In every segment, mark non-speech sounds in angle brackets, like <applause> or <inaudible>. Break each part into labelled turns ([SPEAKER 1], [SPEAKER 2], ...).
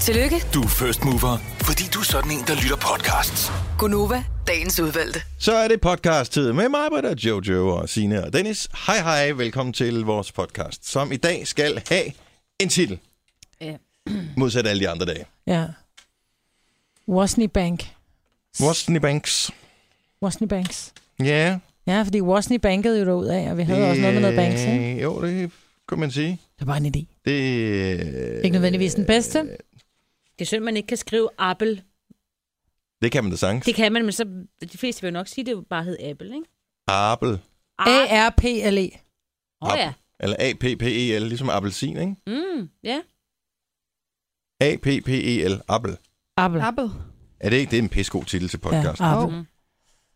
[SPEAKER 1] Tillykke,
[SPEAKER 2] Du er first mover, fordi du er sådan en, der lytter podcasts.
[SPEAKER 1] Gunova, dagens udvalgte.
[SPEAKER 3] Så er det podcast-tid med mig, Britta, Jojo og Sine og Dennis. Hej hej, velkommen til vores podcast, som i dag skal have en titel.
[SPEAKER 4] Ja.
[SPEAKER 3] Modsat alle de andre dage.
[SPEAKER 4] Ja. Wasney Bank.
[SPEAKER 3] Wasney Banks.
[SPEAKER 4] Wasney Banks.
[SPEAKER 3] Ja. Yeah.
[SPEAKER 4] Ja, fordi Wasney bankede jo ud af, og vi havde også noget med noget banks, ikke?
[SPEAKER 3] Jo, det kan man sige.
[SPEAKER 4] Det var bare en idé.
[SPEAKER 3] Det,
[SPEAKER 4] Ikke nødvendigvis den bedste.
[SPEAKER 3] øh,
[SPEAKER 5] Det er synd, man ikke kan skrive Apple.
[SPEAKER 3] det kan man da sagtens.
[SPEAKER 5] Det kan man, men så de fleste vil jo nok sige, at det jo bare hed Apple, ikke?
[SPEAKER 3] Apple.
[SPEAKER 5] Ah,
[SPEAKER 4] A-R-P-L-E.
[SPEAKER 5] Åh ja.
[SPEAKER 3] Eller A-P-P-E-L, ligesom appelsin, ikke?
[SPEAKER 5] Mm, ja.
[SPEAKER 3] A-P-P-E-L, E Apple.
[SPEAKER 4] Apple.
[SPEAKER 6] Appel.
[SPEAKER 3] Er det ikke? Det er en pissegod titel til
[SPEAKER 4] Ja,
[SPEAKER 3] podcast. Ja.
[SPEAKER 4] Apple.
[SPEAKER 5] Mm.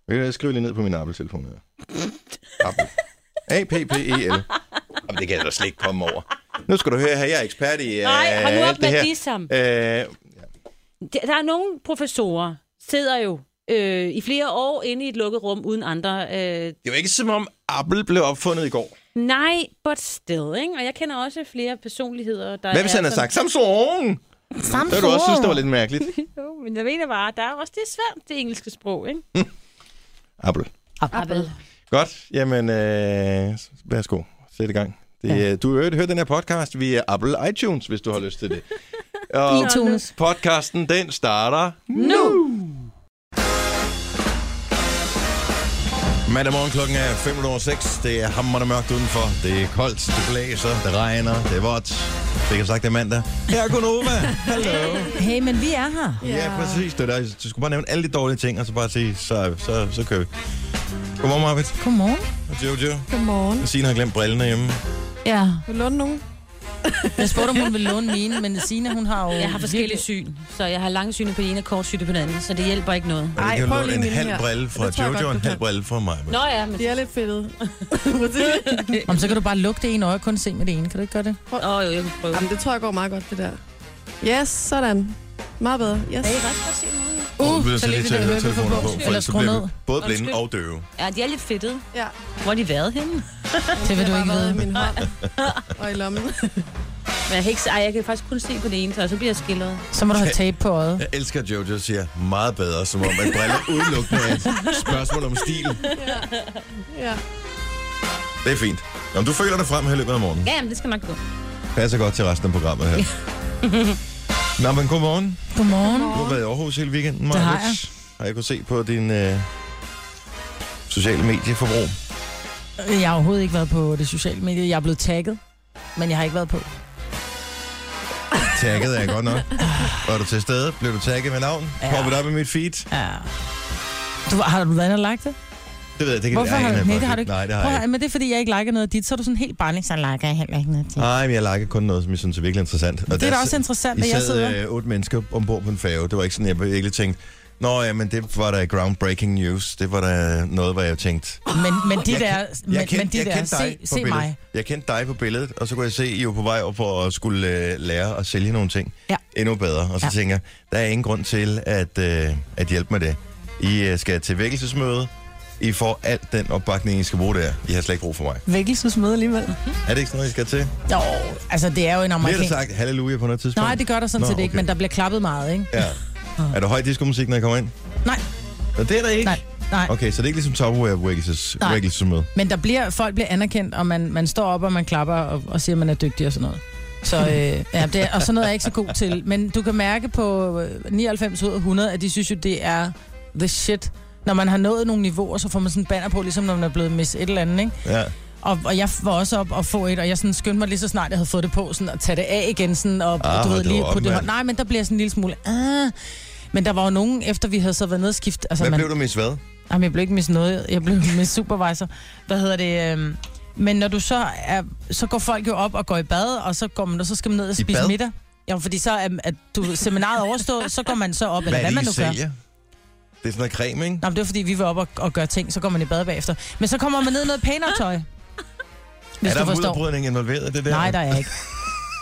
[SPEAKER 3] Ved du hvad, Jeg skriver lige ned på min Apple-telefon
[SPEAKER 5] <laughs>
[SPEAKER 3] her. Apple. A-P-P-E-L. E Jamen, det kan jeg da slet ikke komme over. Nu skal du høre her, jeg er ekspert i uh,
[SPEAKER 5] Nej, hold nu op
[SPEAKER 3] alt det
[SPEAKER 5] med
[SPEAKER 3] her.
[SPEAKER 5] de sammen.
[SPEAKER 3] Uh,
[SPEAKER 5] Der der er nogle professorer, sidder jo øh, i flere år inde i et lukket rum uden andre. Øh,
[SPEAKER 3] det er jo ikke som om Apple blev opfundet i går.
[SPEAKER 5] nej, but still, ikke? Og jeg kender også flere personligheder, der
[SPEAKER 3] Hvad hvis
[SPEAKER 5] er
[SPEAKER 3] han havde sagt Samsung?
[SPEAKER 4] Samsung.
[SPEAKER 3] Det ville du også synes, det var lidt mærkeligt.
[SPEAKER 5] <laughs> Jo, men jeg mener bare, der er også det er svært, det engelske sprog, ikke?
[SPEAKER 3] Apple.
[SPEAKER 6] Appel.
[SPEAKER 3] Godt, jamen øh, værsgo, sæt i gang. Det, ja. Du har hørt, hørt den her podcast via Apple iTunes, hvis du har lyst til
[SPEAKER 5] <laughs>
[SPEAKER 3] det. Og
[SPEAKER 4] iTunes.
[SPEAKER 3] podcasten, den starter
[SPEAKER 5] Nu!
[SPEAKER 3] mandag morgen klokken er 5.06. Det er hammerende mørkt udenfor. Det er koldt, det blæser, det regner, det er vådt. Det kan sagt, det er mandag. Her er Gunova. Hallo.
[SPEAKER 4] Hey, men vi er her.
[SPEAKER 3] Ja, præcis. Det er der. Du skulle bare nævne alle de dårlige ting, og så bare sige, så, så, så kører vi. Godmorgen, Marvitt.
[SPEAKER 4] Godmorgen.
[SPEAKER 3] Og Jojo.
[SPEAKER 6] Godmorgen.
[SPEAKER 3] Signe har glemt brillerne hjemme.
[SPEAKER 4] Ja.
[SPEAKER 6] Vil du låne nogen?
[SPEAKER 4] Jeg spurgte, om hun ville låne mine, men Sina, hun har jo...
[SPEAKER 5] Jeg har forskellige syn, så jeg har langsynet på den ene og kortsynet på den anden, så det hjælper ikke noget.
[SPEAKER 3] Ej,
[SPEAKER 6] Ej,
[SPEAKER 3] kan
[SPEAKER 6] prøv
[SPEAKER 3] låne
[SPEAKER 6] lige
[SPEAKER 3] en
[SPEAKER 6] mine
[SPEAKER 3] halv
[SPEAKER 6] her.
[SPEAKER 3] brille fra
[SPEAKER 6] Det tror jeg
[SPEAKER 3] Jojo
[SPEAKER 6] godt,
[SPEAKER 3] og en
[SPEAKER 6] du
[SPEAKER 3] halv
[SPEAKER 6] kan.
[SPEAKER 3] brille fra mig.
[SPEAKER 5] Nå ja, men...
[SPEAKER 6] De er lidt <laughs> fedtede.
[SPEAKER 4] virkelig- Jamen, så kan du bare lukke det ene øje og kun se med det ene. Kan du ikke gøre det?
[SPEAKER 5] Åh, jo, jeg kan prøve.
[SPEAKER 6] Jamen, det tror jeg går meget godt, det der. Yes, sådan. Meget bedre. Yes.
[SPEAKER 3] Uh,
[SPEAKER 4] så lige det der hørebøffer på, eller
[SPEAKER 3] for så
[SPEAKER 4] skru
[SPEAKER 3] bliver vi
[SPEAKER 4] ned.
[SPEAKER 3] både blinde
[SPEAKER 5] Undskyld.
[SPEAKER 3] og døve.
[SPEAKER 5] Ja, de er lidt fedtede.
[SPEAKER 6] Ja,
[SPEAKER 5] Hvor har de været henne?
[SPEAKER 4] Det vil
[SPEAKER 6] jeg
[SPEAKER 4] du
[SPEAKER 6] har
[SPEAKER 4] ikke
[SPEAKER 6] bare været
[SPEAKER 4] vide.
[SPEAKER 6] i
[SPEAKER 4] <laughs>
[SPEAKER 6] min hånd og i lommen. <laughs>
[SPEAKER 5] Men jeg kan, ikke, se- ej, jeg kan faktisk kun se på det ene, så så bliver jeg skildret.
[SPEAKER 4] Så må du have tape på øjet.
[SPEAKER 3] Jeg elsker, at Jojo siger meget bedre, som om at briller udelukkende er et spørgsmål om stil.
[SPEAKER 6] Ja.
[SPEAKER 3] Det er fint. Om du føler dig frem her i løbet af morgenen.
[SPEAKER 5] Ja, men det skal man kunne.
[SPEAKER 3] Passer godt til resten af programmet her. Nå, men godmorgen.
[SPEAKER 4] Godmorgen.
[SPEAKER 3] Du har været i Aarhus hele weekenden,
[SPEAKER 4] Det har
[SPEAKER 3] Marvitt. Har jeg kunne se på din øh, sociale medieforbrug.
[SPEAKER 4] Jeg har overhovedet ikke været på det sociale medie. Jeg er blevet tagget, men jeg har ikke været på.
[SPEAKER 3] Tagget er jeg godt nok. Var du til stede? Blev du tagget med navn?
[SPEAKER 4] Ja.
[SPEAKER 3] Poppet op i mit feed?
[SPEAKER 4] Ja. Du, har du været inde og lagt det?
[SPEAKER 3] Det ved jeg, det kan
[SPEAKER 4] Hvorfor
[SPEAKER 3] jeg
[SPEAKER 4] har
[SPEAKER 3] ikke
[SPEAKER 4] du-
[SPEAKER 3] have
[SPEAKER 4] Nej,
[SPEAKER 3] på
[SPEAKER 4] det har du
[SPEAKER 3] feed.
[SPEAKER 4] ikke.
[SPEAKER 3] Nej, det har
[SPEAKER 4] Prøv,
[SPEAKER 3] jeg
[SPEAKER 4] at-
[SPEAKER 3] ikke.
[SPEAKER 4] men det er fordi, jeg ikke liker noget af dit, så er du sådan helt barnlig, så liker jeg heller ikke noget af dit.
[SPEAKER 3] Nej, men jeg lakker kun noget, som jeg synes er virkelig interessant. Og
[SPEAKER 4] Det er
[SPEAKER 3] der
[SPEAKER 4] da også interessant,
[SPEAKER 3] Ah, I
[SPEAKER 4] at jeg
[SPEAKER 3] sad
[SPEAKER 4] sidder...
[SPEAKER 3] øh, otte mennesker ombord på en færge. Det var ikke sådan, jeg virkelig tænkte, Nå ja, men det var da groundbreaking news. Det var da noget, hvor jeg tænkte.
[SPEAKER 4] Men, men de
[SPEAKER 3] øh, jeg
[SPEAKER 4] der...
[SPEAKER 3] kendte-
[SPEAKER 4] Men,
[SPEAKER 3] jeg kendte-
[SPEAKER 4] men de
[SPEAKER 3] jeg
[SPEAKER 4] der...
[SPEAKER 3] kendte dig
[SPEAKER 4] Se,
[SPEAKER 3] på
[SPEAKER 4] se
[SPEAKER 3] billedet.
[SPEAKER 4] mig.
[SPEAKER 3] Jeg kendte dig på billedet, og så kunne jeg se, at I var på vej op for at skulle øh, lære at sælge nogle ting
[SPEAKER 4] Ja.
[SPEAKER 3] endnu bedre. Og så
[SPEAKER 4] Ja.
[SPEAKER 3] tænker jeg, der er ingen grund til at, øh, at hjælpe med det. I øh, skal til vækkelsesmøde. I får alt den opbakning, I skal bruge der. I har slet ikke brug for mig.
[SPEAKER 4] Vækkelsesmøde alligevel.
[SPEAKER 3] Er det ikke sådan noget, I skal til?
[SPEAKER 4] Jo, altså det er jo en
[SPEAKER 3] Bliver der
[SPEAKER 4] amerikansk...
[SPEAKER 3] sagt halleluja på noget tidspunkt?
[SPEAKER 4] Nej, det gør der sådan
[SPEAKER 3] Nå,
[SPEAKER 4] set ikke,
[SPEAKER 3] okay.
[SPEAKER 4] men der bliver klappet meget, ikke?
[SPEAKER 3] Ja. Er der høj diskomusik, når jeg kommer ind?
[SPEAKER 4] Nej,
[SPEAKER 3] Nå, det er der ikke.
[SPEAKER 4] nej, nej.
[SPEAKER 3] Okay, så det er ikke ligesom Topperware Wiggelses,
[SPEAKER 4] Nej.
[SPEAKER 3] Wiggelses-møde.
[SPEAKER 4] Men der bliver, folk bliver anerkendt, og man, man står op, og man klapper, og, og siger, at man er dygtig og sådan noget. Så, øh, ja, det er, og sådan noget er jeg ikke så god til. Men du kan mærke på øh, 99 ud af 100, at de synes jo, det er the shit. Når man har nået nogle niveauer, så får man sådan en banner på, ligesom når man er blevet mis et eller andet, ikke?
[SPEAKER 3] Ja.
[SPEAKER 4] Og, og jeg var også op og få et, og jeg sådan skyndte mig lige så snart, jeg havde fået det på, sådan at tage det af igen, sådan, og
[SPEAKER 3] Ah,
[SPEAKER 4] du ved,
[SPEAKER 3] hold
[SPEAKER 4] lige
[SPEAKER 3] nu op,
[SPEAKER 4] på det
[SPEAKER 3] mand.
[SPEAKER 4] hånd. Nej, men der bliver jeg sådan en lille smule, ah. Men der var jo nogen, efter vi havde så været nede og skifte, altså
[SPEAKER 3] Hvad
[SPEAKER 4] man,
[SPEAKER 3] blev du mest hvad?
[SPEAKER 4] Jamen, jeg blev ikke mis noget. Jeg blev <laughs> mis supervisor. Hvad hedder det? øhm, Men når du så er, så går folk jo op og går i bad, og så går man, og så skal man ned og
[SPEAKER 3] I
[SPEAKER 4] spise
[SPEAKER 3] bad?
[SPEAKER 4] middag. Ja, fordi så er at du seminaret er overstået, så går man så op, eller hvad,
[SPEAKER 3] det,
[SPEAKER 4] man
[SPEAKER 3] I
[SPEAKER 4] nu gør.
[SPEAKER 3] sælger? Det er sådan noget creme, ikke?
[SPEAKER 4] Nå, men det var fordi, vi var op og, og gøre ting, så går man i bad bagefter. Men så kommer man ned i noget pænere tøj. Hvis
[SPEAKER 3] er
[SPEAKER 4] du
[SPEAKER 3] der
[SPEAKER 4] forstår.
[SPEAKER 3] mudderbrydning involveret i det der?
[SPEAKER 4] Nej, der er ikke.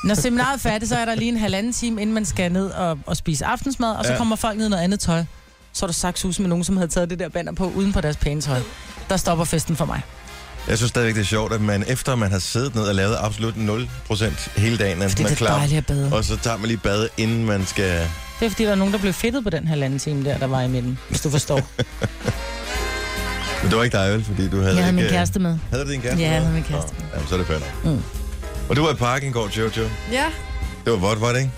[SPEAKER 4] Når seminaret er færdigt, så er der lige en halvanden time, inden man skal ned og, og spise aftensmad, og så
[SPEAKER 3] Ja.
[SPEAKER 4] ja. kommer folk ned i noget andet tøj. Så er der sagt hus med nogen, som havde taget det der banner på, uden på deres pæne tøj. Der stopper festen for mig.
[SPEAKER 3] Jeg synes stadigvæk, det er sjovt, at man efter man har siddet ned og lavet absolut 0% hele dagen, at
[SPEAKER 4] Fordi
[SPEAKER 3] man
[SPEAKER 4] det
[SPEAKER 3] er
[SPEAKER 4] er
[SPEAKER 3] klar,
[SPEAKER 4] dejligt at bade.
[SPEAKER 3] og så tager man lige bad, inden man skal...
[SPEAKER 4] Det er fordi, der er nogen, der blev fedtet på den halvanden time der, der var i midten, hvis du forstår.
[SPEAKER 3] Men det var ikke dig, vel? Fordi du havde
[SPEAKER 4] Jeg
[SPEAKER 3] ikke...
[SPEAKER 4] havde
[SPEAKER 3] øh,
[SPEAKER 4] min kæreste med.
[SPEAKER 3] Havde du din kæreste?
[SPEAKER 4] Ja, jeg
[SPEAKER 3] med?
[SPEAKER 4] havde min kæreste
[SPEAKER 3] Nå, jamen, så er det fandme.
[SPEAKER 4] Mm.
[SPEAKER 3] Og du var i parken i går, Jojo.
[SPEAKER 6] Ja.
[SPEAKER 3] Det var vådt, var det ikke?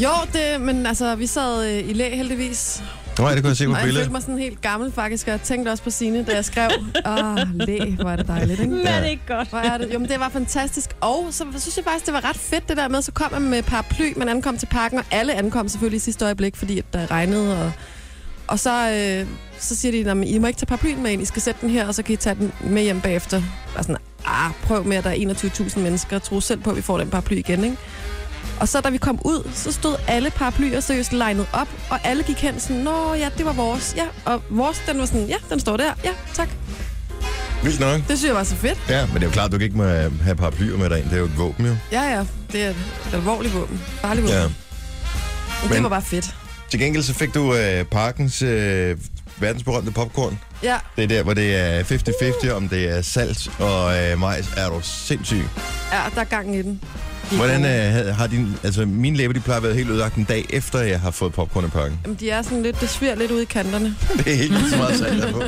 [SPEAKER 6] Jo, det, men altså, vi sad øh, i læ heldigvis.
[SPEAKER 3] Nej, det kunne jeg se på
[SPEAKER 6] Og jeg følte
[SPEAKER 3] billedet.
[SPEAKER 6] mig sådan helt gammel faktisk, og jeg tænkte også på Signe, da jeg skrev. Åh, læ, hvor er det dejligt, ikke?
[SPEAKER 5] Men er det ikke godt?
[SPEAKER 6] Hvor er det? Jo, men det var fantastisk. Og så synes jeg faktisk, det var ret fedt det der med, så kom man med paraply, man ankom til parken, og alle ankom selvfølgelig i sidste øjeblik, fordi at der regnede. Og, og så, øh, så siger de, at I må ikke tage paraplyen med ind, I skal sætte den her, og så kan I tage den med hjem bagefter. Og sådan, ah, prøv med, at der er 21.000 mennesker, tro selv på, at vi får den paraply igen, ikke? Og så da vi kom ud, så stod alle paraplyer seriøst legnet op, og alle gik hen sådan, nå ja, det var vores, ja. Og vores, den var sådan, ja, den står der, ja, tak.
[SPEAKER 3] Vildt nok.
[SPEAKER 6] Det synes jeg var så fedt.
[SPEAKER 3] Ja, men det er jo klart, at du kan ikke må have paraplyer med dig ind. Det er jo et våben, jo.
[SPEAKER 4] Mm.
[SPEAKER 6] Ja, ja. Det er et alvorligt våben. Farligt våben.
[SPEAKER 3] Ja.
[SPEAKER 6] Ja. Men
[SPEAKER 3] Men-
[SPEAKER 6] det var bare fedt.
[SPEAKER 3] Til gengæld så fik du øh, parkens øh, verdensberømte popcorn.
[SPEAKER 6] Ja,
[SPEAKER 3] Det er der, hvor det er 50-50, om det er salt og øh, majs. Er du sindssyg?
[SPEAKER 6] ja, der er gang i den. De er
[SPEAKER 3] Hvordan
[SPEAKER 6] gode.
[SPEAKER 3] øh, havde- har din... Altså, mine læber, de plejer at være helt ødelagt en dag efter, jeg har fået popcorn i pakken.
[SPEAKER 6] Jamen, de er sådan lidt, det sviger lidt ud i kanterne.
[SPEAKER 3] <laughs> Det er helt vildt så meget salt der er på.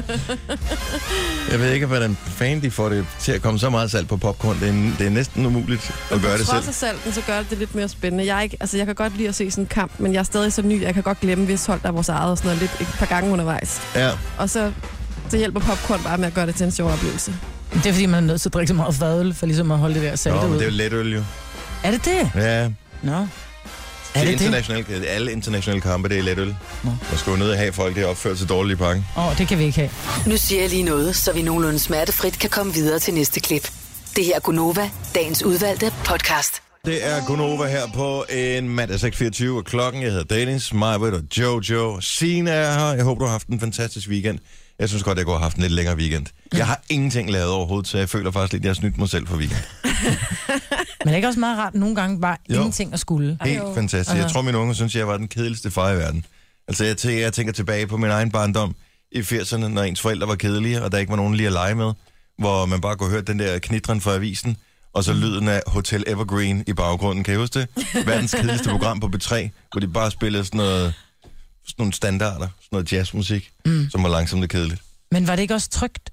[SPEAKER 3] Jeg ved ikke, hvordan fanden de får det til at komme så meget salt på popcorn. Det er, det er næsten umuligt at gøre det selv.
[SPEAKER 6] Trods af salten, så gør det det lidt mere spændende. Jeg, er ikke, altså, jeg kan godt lide at se sådan en kamp, men jeg er stadig så ny, jeg kan godt glemme, hvis hold der er vores eget og sådan noget lidt et par gange undervejs.
[SPEAKER 3] Ja,
[SPEAKER 6] Og så, så hjælper popcorn bare med at gøre det til en sjov oplevelse.
[SPEAKER 4] Det er fordi, man er nødt til at drikke så meget fadøl, for ligesom at holde det der salte
[SPEAKER 3] Nå, men
[SPEAKER 4] ud.
[SPEAKER 3] det er jo let øl, jo.
[SPEAKER 4] Er det det?
[SPEAKER 3] Ja, det
[SPEAKER 4] Nå. Er
[SPEAKER 3] er
[SPEAKER 4] det det?
[SPEAKER 3] internationale, alle internationale kampe, det er let øl.
[SPEAKER 4] Nå.
[SPEAKER 3] Man skal jo ned og have folk, der opfører sig dårligt i pakken.
[SPEAKER 4] Åh, oh, det kan vi ikke have.
[SPEAKER 1] Nu siger jeg lige noget, så vi nogenlunde smertefrit kan komme videre til næste klip. Det her er Gunova, dagens udvalgte podcast.
[SPEAKER 3] Det er Gunova her på en mandag 6.24, og klokken, jeg hedder Dennis, Majbert og Jojo. Sina er her. Jeg håber, du har haft en fantastisk weekend. Jeg synes godt, jeg kunne have haft en lidt længere weekend. Jeg har ingenting lavet overhovedet, så jeg føler faktisk lidt, at jeg har snydt mig selv for weekend.
[SPEAKER 4] Men det er ikke også meget rart nogle gange bare
[SPEAKER 3] Jo.
[SPEAKER 4] jo. ingenting at skulle?
[SPEAKER 3] Helt fantastisk. Jeg tror, mine unge synes, jeg var den kedeligste far i verden. Altså, jeg, tænker, jeg tænker tilbage på min egen barndom i 80'erne, når ens forældre var kedelige, og der ikke var nogen lige at lege med, hvor man bare kunne høre den der knitren fra avisen, og så lyden af Hotel Evergreen i baggrunden. Kan I huske det? Verdens kedeligste program på B3, hvor de bare spillede sådan noget sådan nogle standarder, sådan noget jazzmusik, mm. som var langsomt og kedeligt.
[SPEAKER 4] Men var det ikke også trygt?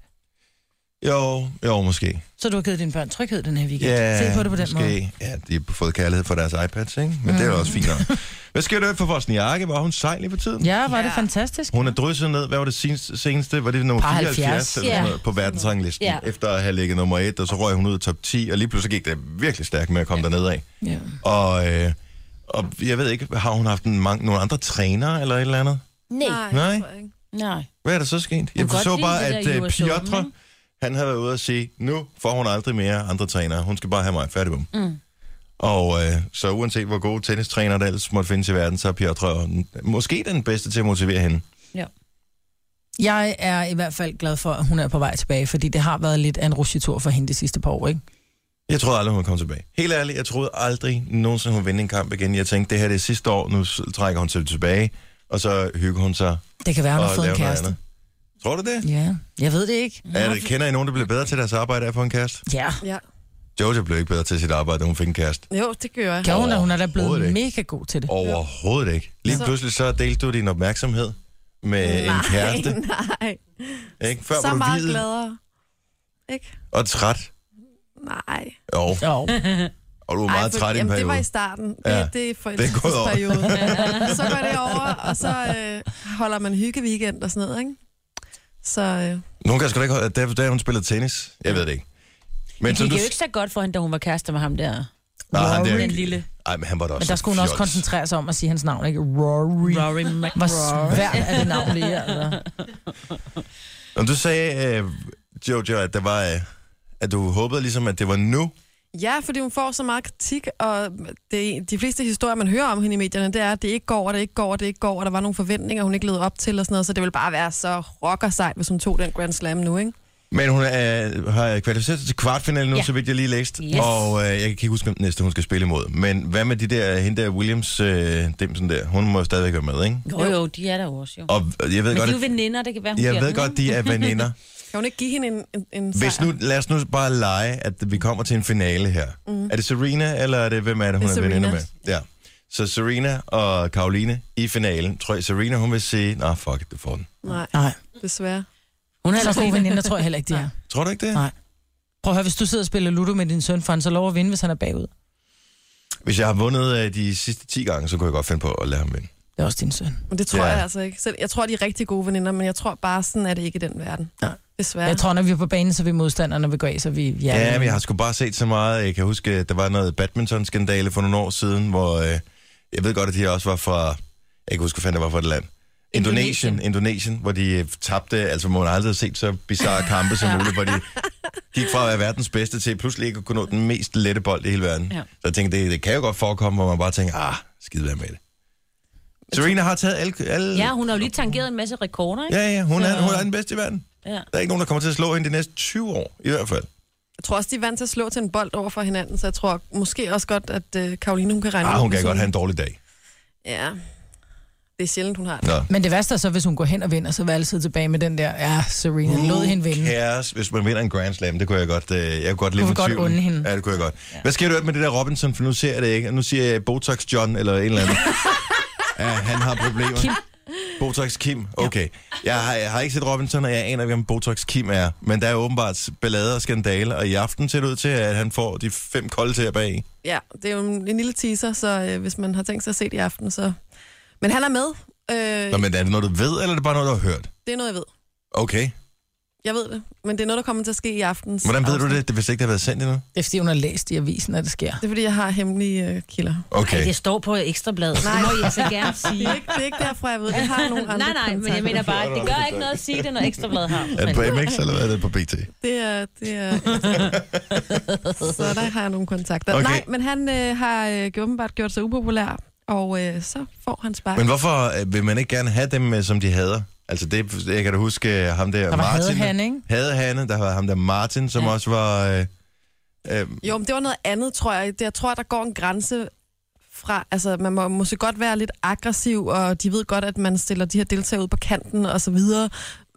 [SPEAKER 3] Jo, jo, måske.
[SPEAKER 4] Så du har givet dine børn tryghed den her weekend?
[SPEAKER 3] Ja,
[SPEAKER 4] Se på det på den
[SPEAKER 3] måske.
[SPEAKER 4] måde.
[SPEAKER 3] Ja, de har fået kærlighed for deres iPads, ikke? Men mm. det er jo også fint nok. Hvad sker der for vores Niakke? Var hun sejl lige for tiden?
[SPEAKER 4] Ja, var ja. det fantastisk?
[SPEAKER 3] Hun er drysset ned, hvad var det seneste? seneste? Var det nummer
[SPEAKER 4] Par
[SPEAKER 3] 74
[SPEAKER 4] 70,
[SPEAKER 3] eller sådan
[SPEAKER 5] ja.
[SPEAKER 3] noget, på verdensranglisten?
[SPEAKER 5] Ja.
[SPEAKER 3] Efter at have ligget nummer 1, og så røg hun ud af top 10, og lige pludselig gik det virkelig stærkt med at komme ja. derned af.
[SPEAKER 4] Ja.
[SPEAKER 3] Og, øh, og jeg ved ikke, har hun haft en mange, nogle andre trænere eller et eller andet?
[SPEAKER 5] Nej.
[SPEAKER 3] Nej.
[SPEAKER 6] det tror jeg ikke.
[SPEAKER 5] Nej.
[SPEAKER 3] Hvad er der så sket? Jeg
[SPEAKER 5] kan godt
[SPEAKER 3] så
[SPEAKER 5] lide
[SPEAKER 3] bare,
[SPEAKER 5] det
[SPEAKER 3] at
[SPEAKER 5] der
[SPEAKER 3] øh,
[SPEAKER 5] USA,
[SPEAKER 3] Piotr,
[SPEAKER 5] ikke?
[SPEAKER 3] han havde været ude og sige, nu får hun aldrig mere andre trænere. Hun skal bare have mig. Færdig med mm. Og øh, så uanset hvor gode tennistrænere der ellers måtte findes i verden, så er Piotr måske den bedste til at motivere hende.
[SPEAKER 5] Ja.
[SPEAKER 4] Jeg er i hvert fald glad for, at hun er på vej tilbage, fordi det har været lidt af en rusjetur for hende de sidste par år, ikke?
[SPEAKER 3] Jeg troede aldrig, hun kom tilbage. Helt ærligt, jeg troede aldrig nogensinde, hun vinde en kamp igen. Jeg tænkte, det her det er sidste år, nu s- trækker hun sig tilbage, og så hygger hun sig
[SPEAKER 4] Det kan være, hun
[SPEAKER 3] og
[SPEAKER 4] har fået
[SPEAKER 3] laver
[SPEAKER 4] en
[SPEAKER 3] noget
[SPEAKER 4] kæreste.
[SPEAKER 3] andet. Tror du det?
[SPEAKER 4] Ja, jeg ved det ikke.
[SPEAKER 3] Er det, kender I nogen, der bliver bedre til deres arbejde af at få en kæreste?
[SPEAKER 4] Ja.
[SPEAKER 6] Ja.
[SPEAKER 3] Jojo blev ikke bedre til sit arbejde, da hun fik en kæreste.
[SPEAKER 6] Jo, det gør jeg.
[SPEAKER 4] Gjorde hun, at hun er da
[SPEAKER 3] Overhovedet
[SPEAKER 4] blevet
[SPEAKER 3] ikke.
[SPEAKER 4] mega god til det.
[SPEAKER 3] Overhovedet ikke. Lige
[SPEAKER 6] Så-
[SPEAKER 3] pludselig så delte du din opmærksomhed med nej, en kæreste.
[SPEAKER 6] <laughs> Nej,
[SPEAKER 3] Ikke? Før
[SPEAKER 6] så
[SPEAKER 3] var du
[SPEAKER 6] meget
[SPEAKER 3] videt
[SPEAKER 6] gladere. Ikke?
[SPEAKER 3] og træt.
[SPEAKER 6] Nej.
[SPEAKER 3] Jo,
[SPEAKER 4] Jo.
[SPEAKER 3] og du var meget
[SPEAKER 6] for-
[SPEAKER 3] træt i en
[SPEAKER 6] jamen, det var
[SPEAKER 3] periode.
[SPEAKER 6] i starten. Det,
[SPEAKER 3] Ja.
[SPEAKER 6] ja. det er for
[SPEAKER 3] Det er gået over.
[SPEAKER 6] <laughs> så går det over, og så øh, holder man hyggeweekend og sådan noget, ikke? Så øh,
[SPEAKER 3] Nogle gange skal du ikke holde, da, da hun spillede tennis. Jeg ved det ikke. Men
[SPEAKER 5] Men det
[SPEAKER 3] som
[SPEAKER 5] gik
[SPEAKER 3] du...
[SPEAKER 5] jo ikke så godt for hende, da hun var kærester med ham der.
[SPEAKER 3] Nej, han der...
[SPEAKER 5] Den lille.
[SPEAKER 3] Ej, men han var da også
[SPEAKER 4] Men der skulle hun også
[SPEAKER 3] fjols.
[SPEAKER 4] koncentrere sig om at sige hans navn, ikke? Rory.
[SPEAKER 5] Rory
[SPEAKER 4] Hvor
[SPEAKER 5] McRory.
[SPEAKER 4] svært er det navn lige, altså.
[SPEAKER 3] Om du sagde, øh, Jojo, at, der var, øh, at du håbede ligesom, at det var nu.
[SPEAKER 6] ja, fordi hun får så meget kritik, og det, de fleste historier, man hører om hende i medierne, det er, at det ikke går, og det ikke går, og det ikke går, og der var nogle forventninger, hun ikke levede op til og sådan noget, så det ville bare være så rockersejt, hvis hun tog den Grand Slam nu, ikke?
[SPEAKER 3] Men hun er, har kvalificeret sig til kvartfinalen nu, ja.
[SPEAKER 5] Ja.
[SPEAKER 3] så vidt jeg lige læste.
[SPEAKER 5] Yes.
[SPEAKER 3] Og øh, jeg kan ikke huske, hvem den næste hun skal spille imod. Men hvad med de der, hende der Williams, øh, dem sådan der, hun må jo stadigvæk være med, ikke?
[SPEAKER 5] Jo, jo, de er der jo også, jo.
[SPEAKER 3] Og jeg ved
[SPEAKER 5] Men
[SPEAKER 3] godt,
[SPEAKER 5] de
[SPEAKER 3] at-
[SPEAKER 5] er jo veninder, det kan være, hun
[SPEAKER 3] Jeg
[SPEAKER 5] bliver
[SPEAKER 3] ved
[SPEAKER 5] den,
[SPEAKER 3] godt, de er veninder.
[SPEAKER 6] Kan hun ikke give hende en, en, en
[SPEAKER 3] Hvis
[SPEAKER 6] sejr?
[SPEAKER 3] nu, lad os nu bare lege, at vi kommer til en finale her. Mm. Er det Serena, eller er det, hvem er det, hun
[SPEAKER 6] Det
[SPEAKER 3] er,
[SPEAKER 6] er
[SPEAKER 3] veninder med?
[SPEAKER 6] Serena.
[SPEAKER 3] Ja. Så Serena og Karoline i finalen. Tror jeg, Serena, hun vil sige, nej, nah, fuck it, du får den.
[SPEAKER 6] Nej,
[SPEAKER 4] Nej.
[SPEAKER 6] desværre.
[SPEAKER 4] Hun er ellers gode veninder, tror jeg heller ikke, de er.
[SPEAKER 3] Tror du ikke det?
[SPEAKER 4] Nej. Prøv at høre, hvis du sidder og spiller Ludo med din søn, for han så lov at vinde, hvis han er bagud.
[SPEAKER 3] Hvis jeg har vundet øh, de sidste 10 gange, så kunne jeg godt finde på at lade ham vinde.
[SPEAKER 4] Det er også din søn.
[SPEAKER 6] Men det tror
[SPEAKER 3] Ja.
[SPEAKER 6] ja. jeg altså ikke. Så jeg tror, de er rigtig gode veninder, men jeg tror bare, sådan er det ikke i den verden.
[SPEAKER 4] Nej.
[SPEAKER 6] Desværre.
[SPEAKER 4] Jeg tror, når vi er på banen, så er vi modstandere, når vi går af, så er vi...
[SPEAKER 3] Ja, ja men jeg har sgu bare set så meget. Jeg kan huske, at der var noget badminton-skandale for nogle år siden, hvor øh, jeg ved godt, at de også var fra... Jeg kan ikke huske, hvad fanden det var for et land. Indonesien, Indonesien, hvor de øh, tabte, altså man har aldrig set så bizarre kampe <laughs> som muligt, hvor de gik fra at være verdens bedste til pludselig ikke at kunne nå den mest lette bold i hele verden. Ja.
[SPEAKER 5] Ja.
[SPEAKER 3] Så jeg tænkte, det, det kan jo godt forekomme, hvor man bare tænker, ah, skide være med det. Serena har taget alle... alle
[SPEAKER 5] Ja, hun har jo lige tangeret en masse rekorder, ikke?
[SPEAKER 3] ja, ja hun, er, hun er den bedste i verden.
[SPEAKER 5] Ja.
[SPEAKER 3] Der er ikke nogen, der kommer til at slå hende de næste 20 år, i hvert fald.
[SPEAKER 6] Jeg tror også, de er vant til at slå til en bold over for hinanden, så jeg tror måske også godt, at øh, Karoline hun kan regne
[SPEAKER 3] Ah,
[SPEAKER 6] ud,
[SPEAKER 3] hun
[SPEAKER 6] hvis
[SPEAKER 3] kan godt have en dårlig dag.
[SPEAKER 6] Ja, det er sjældent, hun har det.
[SPEAKER 3] Nå.
[SPEAKER 4] Men det værste er så, hvis hun går hen og vinder, så vil jeg altid tilbage med den der, ja, Serena, lod hende vinde.
[SPEAKER 3] Kæres, hvis man vinder en Grand Slam, det kunne jeg godt, øh, jeg kunne godt leve
[SPEAKER 4] Hun
[SPEAKER 3] med
[SPEAKER 4] vil godt
[SPEAKER 3] tvivlen.
[SPEAKER 4] unde hende.
[SPEAKER 3] Ja, det kunne jeg godt. Hvad sker der med det der Robinson, for nu ser jeg det ikke. Nu siger jeg Botox John eller en eller anden. ja, han har problemer. Kim. Botox Kim, okay. Jeg har, jeg har ikke set Robinson, og jeg aner ikke, om Botox Kim er. Men der er åbenbart ballade og skandale, og i aften ser det ud til, at han får de fem kolde til bag.
[SPEAKER 6] Ja, det er jo en, en lille teaser, så øh, hvis man har tænkt sig at se det i aften, så... Men han er med. Øh,
[SPEAKER 3] Nå, men er det noget, du ved, eller er det bare noget, du har hørt?
[SPEAKER 6] det er noget, jeg ved.
[SPEAKER 3] Okay.
[SPEAKER 6] Jeg ved det, men det er noget, der kommer til at ske i aften.
[SPEAKER 3] Hvordan ved du det, hvis ikke det har været sendt endnu?
[SPEAKER 4] Det er fordi, hun har læst i avisen, at det sker.
[SPEAKER 6] Det er, fordi jeg har hemmelige øh, kilder.
[SPEAKER 5] Ej,
[SPEAKER 3] Okay.
[SPEAKER 5] det står på ekstrabladet. Det må I altså gerne <laughs> sige.
[SPEAKER 6] Det er, ikke, det er ikke derfor, jeg ved det. Jeg har nogle andre
[SPEAKER 5] Nej, nej, men jeg
[SPEAKER 6] kontakter.
[SPEAKER 5] mener bare, at det gør ikke noget at sige det, når ekstrabladet har.
[SPEAKER 3] Er det på
[SPEAKER 5] Men,
[SPEAKER 3] MX, eller hvad er det på BT?
[SPEAKER 6] Det er... Det er
[SPEAKER 3] <laughs>
[SPEAKER 6] så der har jeg nogle kontakter.
[SPEAKER 3] Okay.
[SPEAKER 6] Okay. Nej, men han øh, har øh, åbenbart gjort sig upopulær, og øh, så får han spark.
[SPEAKER 3] Men hvorfor øh, vil man ikke gerne have dem, øh, som de hader? Altså, det, jeg kan da huske øh, ham der,
[SPEAKER 4] Der var
[SPEAKER 3] Martin.
[SPEAKER 4] Hadehanne, ikke?
[SPEAKER 3] Hadehanne, der var ham der Martin, som ja. også var... Øh, øh,
[SPEAKER 6] Jo, men det var noget andet, tror jeg. Det- Jeg tror, der går en grænse fra, altså man må måske godt være lidt aggressiv, og de ved godt, at man stiller de her deltagere ud på kanten og så videre,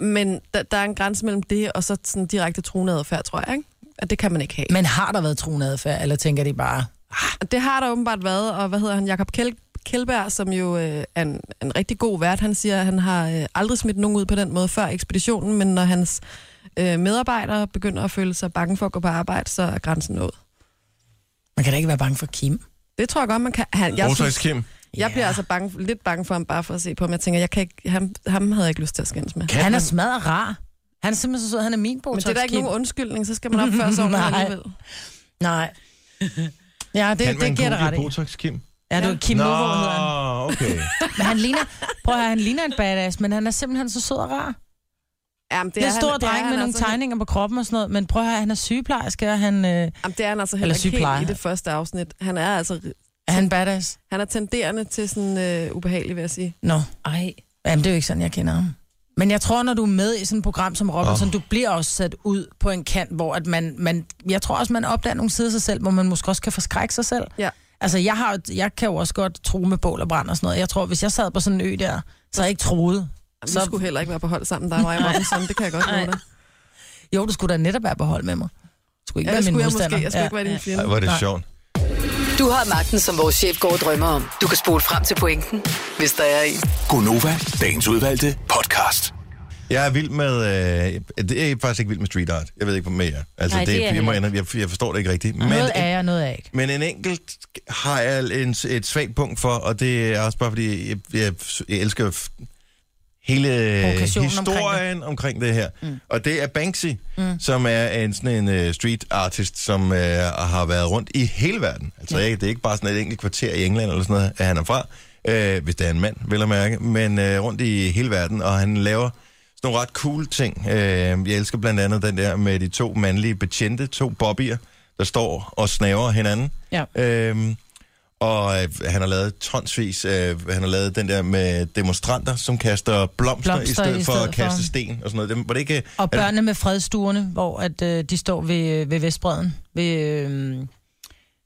[SPEAKER 6] men der, der er en grænse mellem det og så sådan direkte truende adfærd, tror jeg, ikke? At det kan man ikke have.
[SPEAKER 4] Men har der været truende adfærd, eller tænker de bare...
[SPEAKER 6] Og det har der åbenbart været, og hvad hedder han, Jakob Kjell, Kjellberg, som jo øh, er en, en rigtig god vært, han siger, at han har øh, aldrig smidt nogen ud på den måde før ekspeditionen, men når hans øh, medarbejdere begynder at føle sig bange for at gå på arbejde, så er grænsen nået.
[SPEAKER 4] Man kan da ikke være bange for Kim.
[SPEAKER 6] Det tror jeg godt, man kan. Han, jeg
[SPEAKER 3] Botox
[SPEAKER 6] synes,
[SPEAKER 3] Kim.
[SPEAKER 6] Jeg bliver altså bange, lidt bange for ham, bare for at se på ham. Jeg tænker, jeg kan ikke, ham, ham havde jeg ikke lyst til at skændes med.
[SPEAKER 4] Han er smadret rar. Han er simpelthen så sød, han er min
[SPEAKER 6] Men
[SPEAKER 4] Botox
[SPEAKER 6] det er der ikke
[SPEAKER 4] Kim.
[SPEAKER 6] nogen undskyldning, så skal man
[SPEAKER 4] <laughs>
[SPEAKER 6] opføre sig ordentligt
[SPEAKER 4] Nej.
[SPEAKER 6] alligevel.
[SPEAKER 4] Nej. Ja,
[SPEAKER 3] Kan
[SPEAKER 4] det,
[SPEAKER 3] man
[SPEAKER 4] det giver det
[SPEAKER 3] google
[SPEAKER 4] ret i.
[SPEAKER 3] Botox Kim?
[SPEAKER 4] Ja, du er Kim Novo, hedder han.
[SPEAKER 3] okay.
[SPEAKER 4] Men han ligner, prøv at høre, han ligner en badass, men han er simpelthen så sød og rar.
[SPEAKER 6] Jamen,
[SPEAKER 4] Det er en
[SPEAKER 6] han-
[SPEAKER 4] stor
[SPEAKER 6] er
[SPEAKER 4] dreng
[SPEAKER 6] han
[SPEAKER 4] med nogle
[SPEAKER 6] altså,
[SPEAKER 4] tegninger på kroppen og sådan noget, men prøv at høre, han er sygeplejerske, og han, øh, er
[SPEAKER 6] Jamen, det er han altså heller
[SPEAKER 4] Eller
[SPEAKER 6] ikke helt
[SPEAKER 4] sygeplejer.
[SPEAKER 6] i det første afsnit. Han er altså
[SPEAKER 4] han badass.
[SPEAKER 6] han er tenderende til sådan øh, ubehagelig, vil jeg sige.
[SPEAKER 4] Nå,
[SPEAKER 5] ej,
[SPEAKER 4] jamen det er jo ikke sådan, jeg kender ham. Men jeg tror, når du er med i sådan et program som Robinson, oh. du bliver også sat ud på en kant, hvor at man, man, jeg tror også, man opdager nogle sider af sig selv, hvor man måske også kan forskrække sig selv.
[SPEAKER 6] Ja.
[SPEAKER 4] Altså, jeg, har, jo- jeg kan jo også godt tro med bål og brand og sådan noget. Jeg tror, hvis jeg sad på sådan en ø der, så havde jeg ikke troet.
[SPEAKER 6] Jamen, så... Vi skulle heller ikke være på hold sammen, der var jeg Robinson, det kan jeg godt love dig.
[SPEAKER 4] Jo, du skulle da netop være på hold med mig. Du skulle ikke
[SPEAKER 6] Ja,
[SPEAKER 4] være
[SPEAKER 6] det
[SPEAKER 4] min
[SPEAKER 6] skulle jeg
[SPEAKER 4] modstander.
[SPEAKER 6] måske. Jeg skulle ikke være din
[SPEAKER 3] Ej,
[SPEAKER 6] fjende.
[SPEAKER 3] hvor er det sjovt.
[SPEAKER 1] Du har magten, som vores chef går og drømmer om. Du kan spole frem til pointen, hvis der er en.
[SPEAKER 2] Gonova, dagens udvalgte podcast.
[SPEAKER 3] Jeg er vild med... Øh, det er faktisk ikke vild med street art. Jeg ved ikke, hvad med jer. Altså,
[SPEAKER 5] Nej, det er
[SPEAKER 3] jeg, må,
[SPEAKER 5] jeg
[SPEAKER 3] ændre- jeg, jeg forstår det ikke rigtigt. Men,
[SPEAKER 4] Noget er jeg, noget er jeg ikke.
[SPEAKER 3] Men en enkelt har jeg en, et svagt punkt for, og det er også bare fordi, jeg, jeg, jeg elsker f- hele
[SPEAKER 4] Provokationen
[SPEAKER 3] historien omkring det, omkring det her. Mm. Og det er Banksy, mm. som er en, sådan en uh, street artist, som uh, har været rundt i hele verden. Altså ja. det er ikke bare sådan et enkelt kvarter i England eller sådan noget, at han er fra, uh, hvis det er en mand, vel at mærke, men uh, rundt i hele verden, og han laver sådan nogle ret cool ting. Øh, jeg elsker blandt andet den der med de to mandlige betjente, to bobbier, der står og snaver hinanden.
[SPEAKER 4] Ja.
[SPEAKER 3] Øhm, og øh, han har lavet tonsvis, øh, han har lavet den der med demonstranter, som kaster blomster, blomster i stedet, i stedet for at kaste
[SPEAKER 4] for-
[SPEAKER 3] sten og sådan noget. Dem, var det ikke... øh,
[SPEAKER 4] Og børnene med fredstuerne, hvor at, øh, de står ved, ved Vestbreden, ved, øh,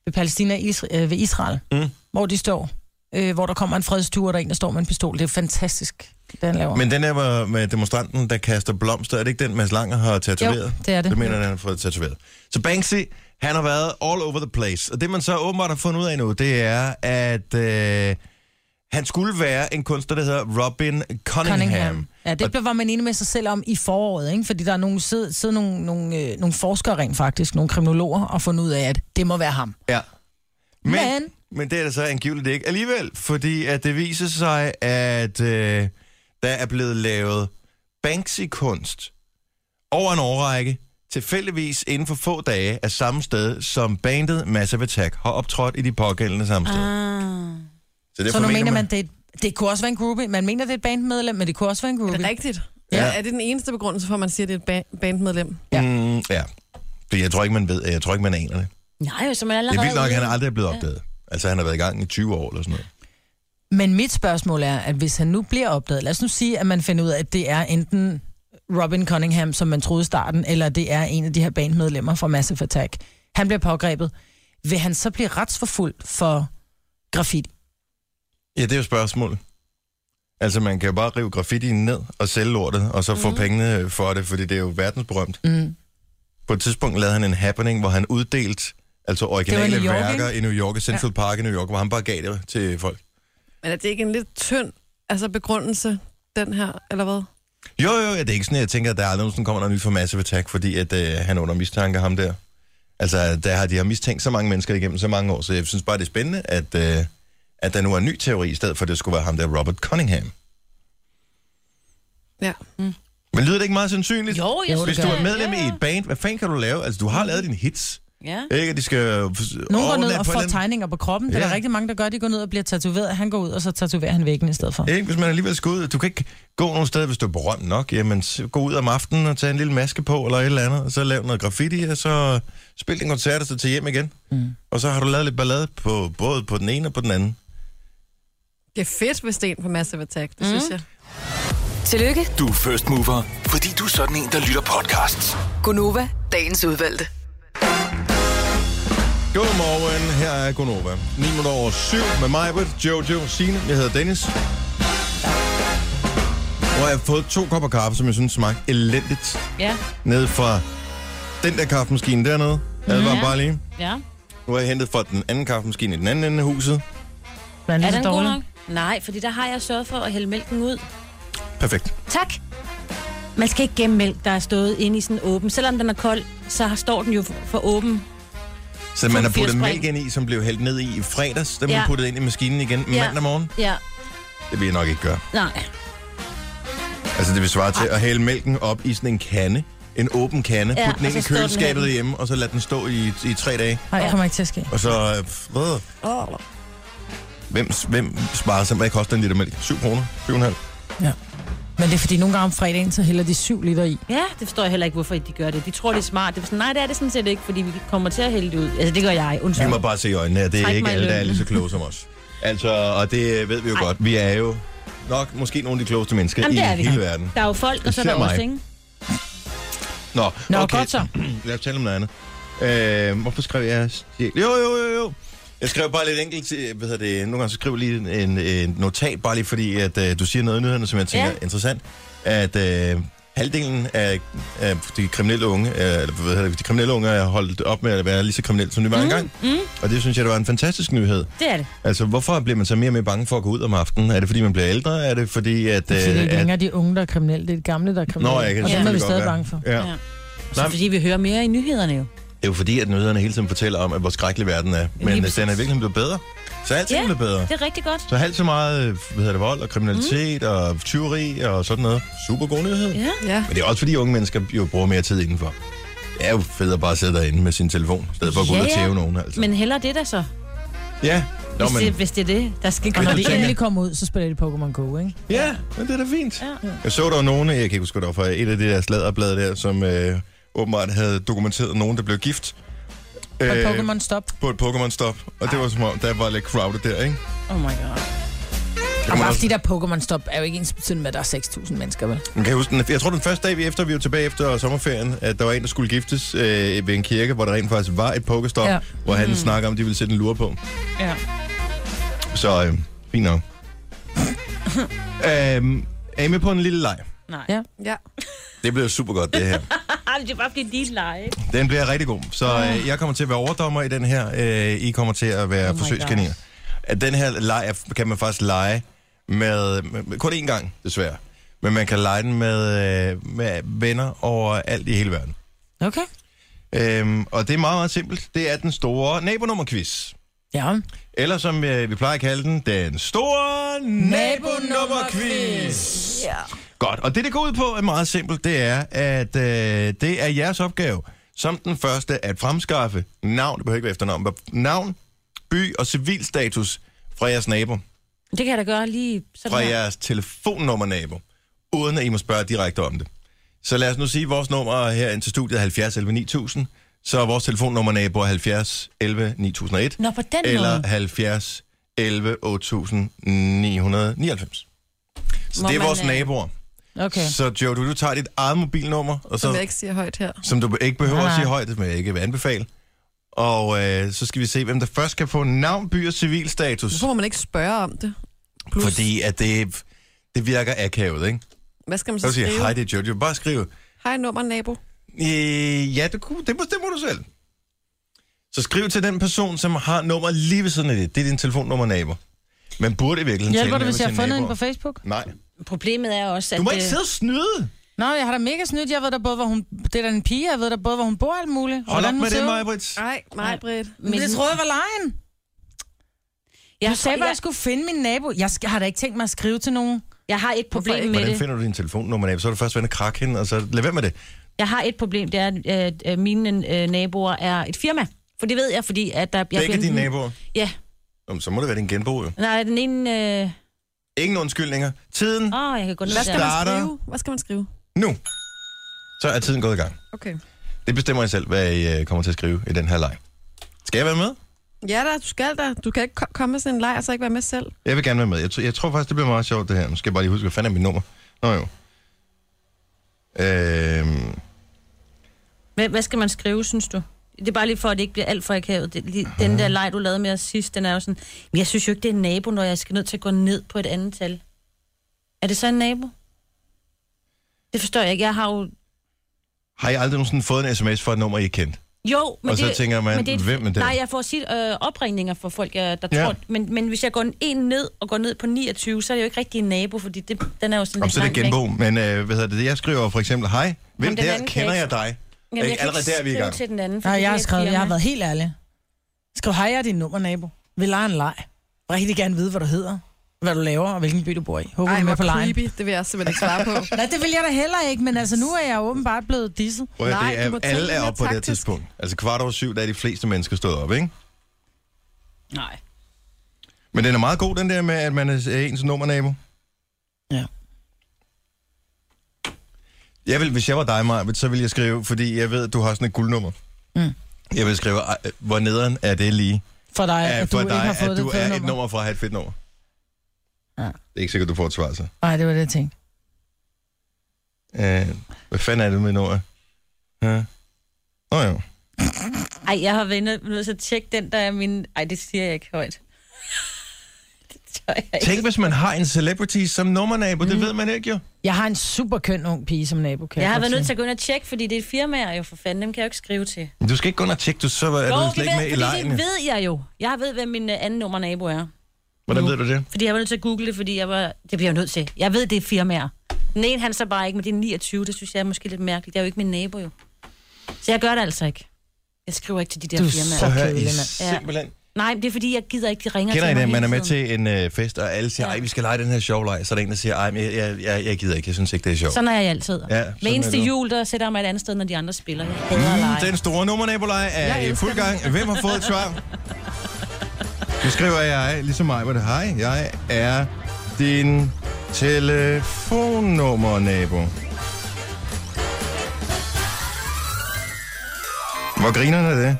[SPEAKER 4] ved Palæstina Isra- øh, ved Israel, mm. hvor de står. øh, hvor der kommer en fredstur, og der er en, der står med en pistol. Det er fantastisk, det han laver.
[SPEAKER 3] Men den der var med demonstranten, der kaster blomster, er det ikke den, Mads Langer har tatoveret?
[SPEAKER 4] Jo, det er det.
[SPEAKER 3] Det mener, han han har fået tatoveret. Så Banksy, han har været all over the place. Og det, man så åbenbart har fundet ud af nu, det er, at øh, han skulle være en kunstner, der hedder Robin Cunningham. Cunningham.
[SPEAKER 4] Ja, det blev, var man enig med sig selv om i foråret, ikke? fordi der er nogle, sid, sidder nogle, nogle, øh, nogle forskere rent faktisk, nogle kriminologer, og fundet ud af, at det må være ham.
[SPEAKER 3] Ja. Men, men...
[SPEAKER 4] Men-
[SPEAKER 3] men det er det så angiveligt ikke alligevel, fordi at det viser sig, at øh, der er blevet lavet Banksy-kunst over en årrække, tilfældigvis inden for få dage af samme sted, som bandet Massive Attack har optrådt i de pågældende samme sted. Ah. Så,
[SPEAKER 4] Så nu mener man, det, er et- det kunne også være en groupie. Man mener, det er et bandmedlem, men det kunne også være en
[SPEAKER 6] Er
[SPEAKER 4] groupie.
[SPEAKER 6] det rigtigt?
[SPEAKER 4] Ja.
[SPEAKER 6] Ja. Er det den eneste begrundelse for, at man siger, at det er et ba- bandmedlem?
[SPEAKER 4] Ja.
[SPEAKER 3] Mm, ja. Fordi jeg tror ikke, man ved, jeg tror ikke, man aner det.
[SPEAKER 5] Nej, så man er
[SPEAKER 3] Det
[SPEAKER 5] allerede...
[SPEAKER 3] er vildt nok, at han
[SPEAKER 5] ude.
[SPEAKER 3] aldrig er blevet opdaget. Altså, han har været i gang i 20 år eller sådan noget.
[SPEAKER 4] Men mit spørgsmål er, at hvis han nu bliver opdaget, lad os nu sige, at man finder ud af, at det er enten Robin Cunningham, som man troede i starten, eller det er en af de her bandmedlemmer fra Massive Attack. Han bliver pågrebet. Vil han så blive retsforfulgt for graffiti?
[SPEAKER 3] Ja, det er jo spørgsmålet. Altså, man kan jo bare rive graffitien ned og sælge lortet, og så mm. få pengene for det, fordi det er jo verdensberømt. Mm. På et tidspunkt lavede han en happening, hvor han uddelte altså originale
[SPEAKER 4] New York,
[SPEAKER 3] værker i New York, i Central ja. Park i New York, hvor han bare gav det til folk.
[SPEAKER 6] Men er det ikke en lidt tynd altså begrundelse, den her, eller hvad?
[SPEAKER 3] Jo, jo, ja, det er ikke sådan, at jeg tænker, at der aldrig nogensinde kommer noget nyt for Massive Attack, fordi at, øh, han er under mistanke ham der. Altså, der har de har mistænkt så mange mennesker igennem så mange år, så jeg synes bare, det er spændende, at, øh, at der nu er en ny teori, i stedet for, at det skulle være ham der Robert Cunningham.
[SPEAKER 6] Ja.
[SPEAKER 3] Men lyder det ikke meget sandsynligt?
[SPEAKER 5] Jo, jeg
[SPEAKER 4] Jo, det
[SPEAKER 5] synes,
[SPEAKER 3] Hvis du
[SPEAKER 5] det
[SPEAKER 3] er medlem
[SPEAKER 5] ja, Mm.
[SPEAKER 3] i et band, hvad fanden kan du lave? Altså, du har lavet dine hits.
[SPEAKER 5] Ja.
[SPEAKER 3] Ikke, at de skal...
[SPEAKER 4] Nogle går
[SPEAKER 3] overlade
[SPEAKER 4] ned og
[SPEAKER 3] på en
[SPEAKER 4] får
[SPEAKER 3] eller anden-
[SPEAKER 4] tegninger på kroppen. Ja. Der
[SPEAKER 3] Ja.
[SPEAKER 4] er der rigtig mange, der gør, de går ned og bliver tatoveret. Han går ud, og så tatoverer han væggen i stedet for.
[SPEAKER 3] Ikke, hvis man alligevel skal ud. Du kan ikke gå nogen steder, hvis du er berømt nok. Jamen, så gå ud om aftenen og tage en lille maske på, eller et eller andet, og så lave noget graffiti, og så spil en koncert, og så tage hjem igen. Mm. Og så har du lavet lidt ballade på både på den ene og på den anden.
[SPEAKER 6] Det er fedt, hvis det er en på Massive Attack, det mm. synes jeg.
[SPEAKER 1] Tillykke,
[SPEAKER 2] Du er first mover, fordi du er sådan en, der lytter podcasts.
[SPEAKER 1] Gunova, dagens udvalgte.
[SPEAKER 3] Godmorgen, her er Gonova. 9 minutter over 7 med mig, Britt, Jojo, Signe. Jeg hedder Dennis. Og jeg har fået to kopper kaffe, som jeg synes smagte elendigt.
[SPEAKER 5] Ja.
[SPEAKER 3] ned fra den der kaffemaskine dernede. Advar
[SPEAKER 5] Ja.
[SPEAKER 3] bare lige.
[SPEAKER 5] ja.
[SPEAKER 3] Nu har jeg hentet fra den anden kaffemaskine i den anden ende af huset.
[SPEAKER 4] Men
[SPEAKER 5] Er
[SPEAKER 4] lige så
[SPEAKER 5] den god
[SPEAKER 4] dårlig.
[SPEAKER 5] nok? Nej, fordi der har jeg sørget for at hælde mælken ud.
[SPEAKER 3] Perfekt.
[SPEAKER 5] Tak. Man skal ikke gemme mælk, der er stået inde i sådan en åben. Selvom den er kold, så står den jo for, for åben.
[SPEAKER 3] Så man har
[SPEAKER 5] fire
[SPEAKER 3] puttet
[SPEAKER 5] spring.
[SPEAKER 3] mælk ind i, som blev hældt ned i i fredags. Den ja. man
[SPEAKER 5] Ja.
[SPEAKER 3] puttet ind i maskinen igen ja. mandag morgen.
[SPEAKER 5] Ja,
[SPEAKER 3] Det vil jeg nok ikke gøre.
[SPEAKER 5] nej.
[SPEAKER 3] Altså det vil svare til at hælde mælken op i sådan en kande. En åben kande. Ja,
[SPEAKER 5] Ja,
[SPEAKER 3] Put den
[SPEAKER 5] og
[SPEAKER 3] ind i
[SPEAKER 5] så står den
[SPEAKER 3] køleskabet
[SPEAKER 5] hen.
[SPEAKER 3] hjemme, og så lad den stå i, i tre dage.
[SPEAKER 4] Nej, det kommer ikke til at ske.
[SPEAKER 3] Og så... øh, pff, Hvad? Hvem, hvem sparer sig? Hvad koster en liter mælk? 7 kroner? 7,5?
[SPEAKER 4] Men det er fordi, nogle gange om fredagen, så hælder de syv liter i.
[SPEAKER 5] Ja, det forstår jeg heller ikke, hvorfor de gør det. De tror, det er smart. Det er sådan, nej, det er det sådan set ikke, fordi vi kommer til at hælde det ud. Altså, det gør jeg.
[SPEAKER 3] Vi
[SPEAKER 5] Undskyld.
[SPEAKER 3] må bare se i øjnene, at det er
[SPEAKER 5] Træk
[SPEAKER 3] ikke
[SPEAKER 5] mig i
[SPEAKER 3] alle, der er
[SPEAKER 5] lønnen.
[SPEAKER 3] lige så kloge som os. Altså, og det ved vi jo Ej. godt. Vi er jo nok måske nogle af de klogeste mennesker
[SPEAKER 5] Jamen,
[SPEAKER 3] i
[SPEAKER 5] det er vi.
[SPEAKER 3] hele verden.
[SPEAKER 5] Der er jo folk, og så er
[SPEAKER 3] Især
[SPEAKER 5] der også,
[SPEAKER 3] mig.
[SPEAKER 5] ikke?
[SPEAKER 3] Nå,
[SPEAKER 4] Nå, godt så.
[SPEAKER 3] <clears throat> Lad os tale om noget andet. Øh, hvorfor skrev jeg... Jo, jo, jo, jo. Jeg skrev bare lidt enkelt til, hvad hedder det, nogle gange så skriver jeg lige en, en notat, bare lige fordi, at øh, du siger noget i nyhederne, som jeg tænker ja.
[SPEAKER 5] Ja.
[SPEAKER 3] er interessant, at øh, halvdelen af, af de kriminelle unge, øh, eller hvad hedder det, de kriminelle unge er holdt op med at være lige så kriminelle, som de var mm, engang. Mm. Og det synes jeg, det var en fantastisk nyhed.
[SPEAKER 5] Det er det.
[SPEAKER 3] Altså, hvorfor bliver man så mere og mere bange for at gå ud om aftenen? Er det, fordi man bliver ældre? Er det, fordi at...
[SPEAKER 4] Så det er
[SPEAKER 3] øh,
[SPEAKER 4] ikke
[SPEAKER 3] at...
[SPEAKER 4] længere de unge, der er kriminelle. Det er de gamle, der er kriminelle.
[SPEAKER 3] Nå, jeg kan
[SPEAKER 4] og dem er
[SPEAKER 3] selvfølgelig
[SPEAKER 4] vi
[SPEAKER 3] godt
[SPEAKER 4] stadig
[SPEAKER 3] være.
[SPEAKER 4] bange for.
[SPEAKER 3] Ja.
[SPEAKER 5] Ja. Så
[SPEAKER 3] Nej,
[SPEAKER 5] fordi vi hører mere i nyhederne jo.
[SPEAKER 3] Det er jo fordi, at nyhederne hele tiden fortæller om, at hvor skrækkelig verden er. Men øh,
[SPEAKER 5] Lige
[SPEAKER 3] den
[SPEAKER 5] præcis.
[SPEAKER 3] er virkelig blevet bedre. Så er alting
[SPEAKER 5] Ja.
[SPEAKER 3] yeah. blevet bedre.
[SPEAKER 5] Det er rigtig godt.
[SPEAKER 3] Så halvt så meget øh, hvad hedder det, vold og kriminalitet mm. og tyveri og sådan noget. Super god nyhed.
[SPEAKER 5] Ja.
[SPEAKER 6] Ja.
[SPEAKER 3] Men det er også fordi, unge mennesker jo bruger mere tid indenfor. Det er jo federe bare at sidde derinde med sin telefon, i stedet for at gå
[SPEAKER 5] Ja,
[SPEAKER 3] ud og
[SPEAKER 5] ja.
[SPEAKER 3] tæve nogen. Altså.
[SPEAKER 5] Men heller det der så,
[SPEAKER 3] ja. Nå,
[SPEAKER 5] hvis,
[SPEAKER 3] men,
[SPEAKER 5] det, hvis det er det, der skal
[SPEAKER 4] Og
[SPEAKER 5] gøre
[SPEAKER 4] når
[SPEAKER 3] du
[SPEAKER 4] de
[SPEAKER 5] det.
[SPEAKER 3] tænker-
[SPEAKER 4] endelig kommer ud, så spiller de Pokémon Go, ikke?
[SPEAKER 3] ja, men det er da fint.
[SPEAKER 5] Ja.
[SPEAKER 3] Jeg så der var nogen, jeg kan ikke huske, hvad det var for et af de der sladderblad der, som øh, åbenbart havde dokumenteret nogen, der blev gift.
[SPEAKER 4] Og
[SPEAKER 3] øh,
[SPEAKER 4] Pokémon Stop.
[SPEAKER 3] på et Pokémon-stop. Og det var som om, der var lidt crowded der, ikke?
[SPEAKER 5] Oh my god.
[SPEAKER 3] Det
[SPEAKER 4] Og
[SPEAKER 3] man
[SPEAKER 4] bare
[SPEAKER 3] også-
[SPEAKER 4] fordi der er Pokémon Stop, er jo ikke ens betydende med, at der er 6.000 mennesker, vel?
[SPEAKER 3] Man kan huske, den, jeg tror den første dag vi efter, vi var tilbage efter sommerferien, at der var en, der skulle giftes øh, ved en kirke, hvor der rent faktisk var et pokestop, ja.
[SPEAKER 4] Ja.
[SPEAKER 3] hvor han mm. snakkede om, at de ville sætte en lure på.
[SPEAKER 5] Ja.
[SPEAKER 3] Så øh, Fint nok. øhm, er I med på en lille leg?
[SPEAKER 5] Nej.
[SPEAKER 4] Ja.
[SPEAKER 6] Ja.
[SPEAKER 3] Det bliver super godt, det her.
[SPEAKER 5] Ej, det er bare fordi det er din leje. ikke?
[SPEAKER 3] Den bliver rigtig god. Så øh, jeg kommer til at være overdommer i den her. Øh, I kommer til at være
[SPEAKER 4] Ah.
[SPEAKER 3] oh
[SPEAKER 4] Oh my
[SPEAKER 3] forsøgskaniner. At den her leg er- kan man faktisk lege med, med, med kun én gang, desværre. Men man kan lege den med, øh, med venner over alt i hele verden.
[SPEAKER 4] Okay.
[SPEAKER 3] Øhm, og det er meget, meget simpelt. Det er den store nabonummerquiz.
[SPEAKER 4] Ja.
[SPEAKER 3] Eller som øh, vi plejer at kalde den, den store nabonummerquiz.
[SPEAKER 6] Ja.
[SPEAKER 3] Godt, og det det går ud på er meget simpelt, det er, at øh, det er jeres opgave som den første at fremskaffe navn, det behøver ikke være efternavn, men navn, by og civilstatus fra jeres nabo,
[SPEAKER 5] Det kan jeg da gøre lige sådan
[SPEAKER 3] fra
[SPEAKER 5] her.
[SPEAKER 3] jeres telefonnummernabo, uden at I må spørge direkte om det. Så lad os nu sige, at vores nummer her ind til studiet er 70 11 9000, så er vores telefonnummernabo er 70 11 9001,
[SPEAKER 4] Nå, på den måde.
[SPEAKER 3] eller 70 11 8999. Så
[SPEAKER 5] Må
[SPEAKER 3] det er
[SPEAKER 5] man,
[SPEAKER 3] vores
[SPEAKER 5] øh,
[SPEAKER 3] naboer.
[SPEAKER 4] Okay.
[SPEAKER 3] Så Joe, du, du tager dit eget mobilnummer, og så,
[SPEAKER 6] Som jeg ikke siger højt her.
[SPEAKER 3] som du ikke behøver
[SPEAKER 4] Nej,
[SPEAKER 3] at
[SPEAKER 4] nej.
[SPEAKER 3] sige højt, det vil jeg ikke anbefale. Og øh, så skal vi se, hvem der først kan få navn, by og civilstatus.
[SPEAKER 6] Så må man ikke spørge om det. Plus,
[SPEAKER 3] Fordi at det, det virker akavet, ikke?
[SPEAKER 6] hvad skal man
[SPEAKER 3] Så
[SPEAKER 6] så
[SPEAKER 3] du siger,
[SPEAKER 6] skrive?
[SPEAKER 3] hej, det er Joe. Du kan bare skrive,
[SPEAKER 6] Hej, nummer, nabo.
[SPEAKER 3] øh, ja, det, kunne, det bestemmer du selv. Så skriv til den person, som har nummer lige ved siden af det. Det er din telefonnummer, nabo. Man burde i virkeligheden
[SPEAKER 4] Hjælper
[SPEAKER 3] tale
[SPEAKER 4] det,
[SPEAKER 3] mere
[SPEAKER 4] hvis
[SPEAKER 3] med
[SPEAKER 4] jeg har
[SPEAKER 3] sine
[SPEAKER 4] fundet en
[SPEAKER 3] naboer.
[SPEAKER 4] på Facebook?
[SPEAKER 3] Nej.
[SPEAKER 5] Problemet er også, at...
[SPEAKER 3] Du må
[SPEAKER 5] øh,
[SPEAKER 3] ikke sidde og snyde.
[SPEAKER 4] Nå, jeg har da mega snydt. Jeg ved da både, hvor hun... Det er da en pige, jeg ved da både, hvor hun bor og alt muligt. og
[SPEAKER 3] Hold op
[SPEAKER 4] hvordan hun
[SPEAKER 3] med
[SPEAKER 4] ser
[SPEAKER 3] det,
[SPEAKER 4] ud.
[SPEAKER 3] Majbrits.
[SPEAKER 6] Nej, mig, Britt.
[SPEAKER 4] Men det troede jeg var lejen.
[SPEAKER 5] jeg,
[SPEAKER 4] Du sagde
[SPEAKER 5] jeg,
[SPEAKER 4] bare, at
[SPEAKER 5] jeg,
[SPEAKER 4] jeg skulle finde min nabo. Jeg skal, har da ikke tænkt mig at skrive til nogen.
[SPEAKER 5] jeg har et problem
[SPEAKER 6] ikke?
[SPEAKER 5] med
[SPEAKER 3] Hvordan
[SPEAKER 5] det.
[SPEAKER 3] finder du din telefonnummer, nabo? Så er du først ved at krakke hende, og så lad være med det.
[SPEAKER 5] Jeg har et problem, det er, at øh, mine øh, naboer er et firma. For det ved jeg, fordi at der... Jeg
[SPEAKER 3] Jeg Begge
[SPEAKER 5] bliver-
[SPEAKER 3] dine naboer.
[SPEAKER 5] Ja.
[SPEAKER 3] Jamen, så må det være din genbo, jo.
[SPEAKER 5] Nej, den ene... øh,
[SPEAKER 3] Ingen undskyldninger. Tiden
[SPEAKER 5] Åh, øh, oh, jeg kan gå ned
[SPEAKER 6] Hvad skal
[SPEAKER 5] der.
[SPEAKER 6] man
[SPEAKER 3] Starter.
[SPEAKER 6] skrive? Hvad skal man skrive?
[SPEAKER 3] nu. Så er tiden gået i gang.
[SPEAKER 6] Okay.
[SPEAKER 3] Det bestemmer jeg selv, hvad I øh, kommer til at skrive i den her leg. Skal jeg være med?
[SPEAKER 6] Ja, der, du skal da. Du kan ikke ko- komme med sådan en lejr, og så ikke være med selv.
[SPEAKER 3] Jeg vil gerne være med. Jeg, tror- jeg tror faktisk, det bliver meget sjovt, det her. Nu skal jeg bare lige huske, hvad fanden er mit nummer? Nå jo. Øhm,
[SPEAKER 5] Hvad, hvad skal man skrive, synes du? Det er bare lige for, at det ikke bliver alt for akavet. Det, lige,
[SPEAKER 3] Mhm.
[SPEAKER 5] den der leg, du lavede med os sidst, den er jo sådan... Men jeg synes jo ikke, det er en nabo, når jeg skal nødt til at gå ned på et andet tal. Er det så en nabo? Det forstår jeg ikke. Jeg har jo...
[SPEAKER 3] har I aldrig nogensinde fået en sms fra et nummer, I ikke kendte?
[SPEAKER 5] Jo, men
[SPEAKER 3] Og så
[SPEAKER 5] det,
[SPEAKER 3] tænker man,
[SPEAKER 5] men det,
[SPEAKER 3] hvem er det?
[SPEAKER 5] Nej, jeg får sit, øh, opringninger fra folk, jeg, der
[SPEAKER 3] Ja.
[SPEAKER 5] ja. tror... Men, men hvis jeg går en ned og går ned på 29, så er det jo ikke rigtig en nabo, fordi det, den er jo sådan
[SPEAKER 3] Om så er det
[SPEAKER 5] langt væk.
[SPEAKER 3] genbo, men øh, hvad hedder det? Jeg skriver for eksempel, hej, hvem
[SPEAKER 5] Jamen, den
[SPEAKER 3] der
[SPEAKER 5] anden kan
[SPEAKER 3] kender
[SPEAKER 5] jeg
[SPEAKER 3] jeg dig?
[SPEAKER 5] Jamen, jeg
[SPEAKER 3] Ikke?
[SPEAKER 5] kan
[SPEAKER 3] Allerede
[SPEAKER 5] ikke
[SPEAKER 3] der er vi i
[SPEAKER 5] skrive
[SPEAKER 3] gang.
[SPEAKER 5] til den anden.
[SPEAKER 4] Nej,
[SPEAKER 5] fordi
[SPEAKER 4] jeg har
[SPEAKER 5] det er
[SPEAKER 4] skrevet, jeg har
[SPEAKER 5] firma.
[SPEAKER 4] været helt ærlig. Skriv, hej, jeg er din nummernabo. Vi leger en leg. Jeg vil rigtig gerne vide, hvad du hedder, hvad du laver og hvilken by du bor i. Håber, du
[SPEAKER 6] Ej,
[SPEAKER 4] er med på
[SPEAKER 6] hvor
[SPEAKER 4] lejen.
[SPEAKER 6] creepy. Det vil jeg simpelthen ikke svare på.
[SPEAKER 4] Nej, det vil jeg da heller ikke, men altså nu er jeg åbenbart blevet disset.
[SPEAKER 3] Prøv at, høre,
[SPEAKER 6] Nej,
[SPEAKER 3] det
[SPEAKER 6] du
[SPEAKER 3] er,
[SPEAKER 6] må
[SPEAKER 3] alle
[SPEAKER 6] tænke
[SPEAKER 3] er
[SPEAKER 6] mere
[SPEAKER 3] oppe på det her
[SPEAKER 6] taktisk.
[SPEAKER 3] tidspunkt. Altså kvart over syv, der er de fleste mennesker stået op, ikke?
[SPEAKER 5] Nej.
[SPEAKER 3] Men den er meget god, den der med, at man er ens nummernabo.
[SPEAKER 4] Ja.
[SPEAKER 3] Jeg vil, hvis jeg var dig, Maja, så ville jeg skrive, fordi jeg ved, at du har sådan et guldnummer.
[SPEAKER 4] Mm.
[SPEAKER 3] Jeg vil skrive, "Ej, hvor nederen er det lige,
[SPEAKER 4] For dig,
[SPEAKER 3] er
[SPEAKER 4] at du
[SPEAKER 3] for
[SPEAKER 4] ikke
[SPEAKER 3] dig,
[SPEAKER 4] har fået
[SPEAKER 3] at
[SPEAKER 4] det
[SPEAKER 3] du er et
[SPEAKER 4] fødenummer.
[SPEAKER 3] nummer fra at have et fedt nummer.
[SPEAKER 4] Ja.
[SPEAKER 3] Det er ikke sikkert, du får et svar, så.
[SPEAKER 4] Nej, det var det, jeg tænkte.
[SPEAKER 3] Øh, hvad fanden er det med nummer? Ja. Nå jo.
[SPEAKER 5] Ej, jeg har været inde- nødt til at tjekke den, der er min... Ej, det siger jeg ikke højt. <laughs> det tør jeg ikke.
[SPEAKER 3] Tænk, hvis man har en celebrity som nummernabo, mm. det ved man ikke jo.
[SPEAKER 4] Jeg har en super køn ung pige som nabo, kan
[SPEAKER 5] Jeg har
[SPEAKER 4] godt
[SPEAKER 5] været nødt til
[SPEAKER 4] sige.
[SPEAKER 5] at gå ind og tjekke, fordi det er et firma, jeg jo for fanden. Dem kan jeg jo ikke skrive til.
[SPEAKER 3] Men Du skal ikke gå ind og tjekke, du, så er
[SPEAKER 5] jo,
[SPEAKER 3] du slet
[SPEAKER 5] det,
[SPEAKER 3] ikke med i
[SPEAKER 5] fordi
[SPEAKER 3] lejen.
[SPEAKER 5] det
[SPEAKER 3] jo.
[SPEAKER 5] ved jeg jo. Jeg ved, hvem min øh, anden nummer nabo er.
[SPEAKER 3] Hvordan ved du det?
[SPEAKER 5] Fordi jeg var nødt til at google det, fordi jeg var... Det bliver jeg jo nødt til. Jeg ved, det er firmaer. Den ene han så bare ikke, men det er 29. Det synes jeg er måske lidt mærkeligt. Det er jo ikke min nabo, jo. Så jeg gør det altså ikke. Jeg skriver ikke til de der
[SPEAKER 4] Du er
[SPEAKER 5] firmaer.
[SPEAKER 4] så-
[SPEAKER 3] Prøv at høre,
[SPEAKER 4] kedelig,
[SPEAKER 3] I
[SPEAKER 4] mand.
[SPEAKER 5] Ja.
[SPEAKER 3] simpelthen...
[SPEAKER 5] Nej, men det er fordi, jeg gider ikke, de ringer
[SPEAKER 3] Kender I
[SPEAKER 5] til mig
[SPEAKER 3] det, man er
[SPEAKER 5] hele
[SPEAKER 3] med
[SPEAKER 5] tiden.
[SPEAKER 3] til en øh, fest, og alle siger,
[SPEAKER 5] Ja.
[SPEAKER 3] ej, vi skal lege den her sjov leg. Så er der en, der siger, ej, men jeg, jeg, jeg, jeg gider ikke, jeg synes ikke, det er sjovt.
[SPEAKER 5] Sådan er jeg altid.
[SPEAKER 3] Ja,
[SPEAKER 5] Ja,
[SPEAKER 3] sådan
[SPEAKER 5] Med
[SPEAKER 3] er
[SPEAKER 5] eneste
[SPEAKER 3] du.
[SPEAKER 5] jul, der sætter jeg mig et andet sted, når de andre spiller. Jeg hader at lege.
[SPEAKER 3] Mm, den store nummer, Nikolaj, er
[SPEAKER 6] Jeg
[SPEAKER 3] i
[SPEAKER 6] elsker
[SPEAKER 3] fuld gang. Hvem har fået et svar? Nu skriver jeg, ligesom mig, hvor det hej, jeg er din telefonnummer, nabo. Hvor grinerne er det?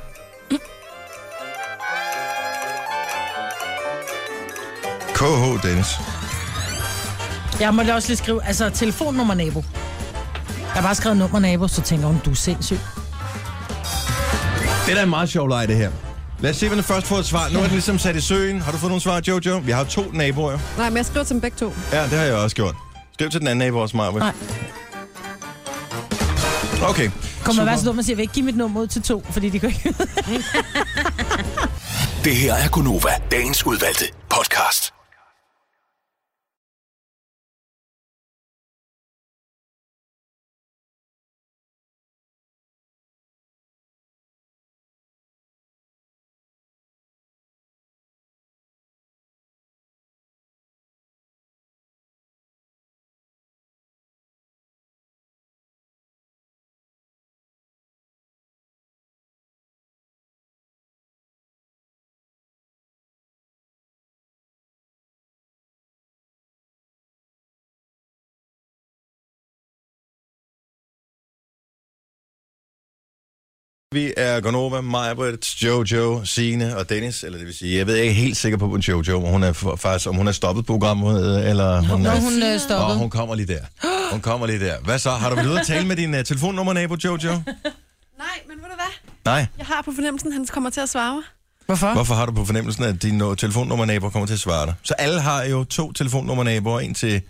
[SPEAKER 3] KH Dennis.
[SPEAKER 4] Jeg måtte også lige skrive, altså telefonnummer nabo. Jeg har bare skrevet nummer nabo, så tænker hun, du er sindssyg.
[SPEAKER 3] Det er da en meget sjov leg, det her. Lad os se, hvem der først får et svar. Nu er den ligesom sat i søen. Har du fået nogle svar, Jojo? Vi har jo to naboer.
[SPEAKER 6] <laughs> Nej, men jeg skriver til dem begge to.
[SPEAKER 3] Ja, det har jeg også gjort. Skriv til den anden nabo også, Marve.
[SPEAKER 4] Nej.
[SPEAKER 3] Okay.
[SPEAKER 4] Kommer man være så dum og siger, vil give mit nummer ud til to, fordi de kan ikke...
[SPEAKER 2] Det her er Gunova, dagens udvalgte podcast.
[SPEAKER 3] Vi er Gonova, Majbert, Jojo, Sine og Dennis, eller det vil sige, jeg ved ikke helt sikker på, om Jojo, om hun er f- faktisk, om hun er stoppet programmet, eller hun,
[SPEAKER 4] Når
[SPEAKER 3] er...
[SPEAKER 4] hun øh,
[SPEAKER 3] Og
[SPEAKER 4] stoppede.
[SPEAKER 3] hun kommer lige der. Hun kommer lige der. Hvad så? Har du været ude at tale med din uh, telefonnummer, nabo Jojo?
[SPEAKER 6] Nej, men ved du hvad?
[SPEAKER 3] Nej.
[SPEAKER 6] Jeg har på fornemmelsen, at han kommer til at svare mig.
[SPEAKER 4] Hvorfor?
[SPEAKER 3] Hvorfor har du på fornemmelsen, at din uh, telefonnummer-nabo kommer til at svare dig? Så alle har jo to telefonnummer-naboer, en til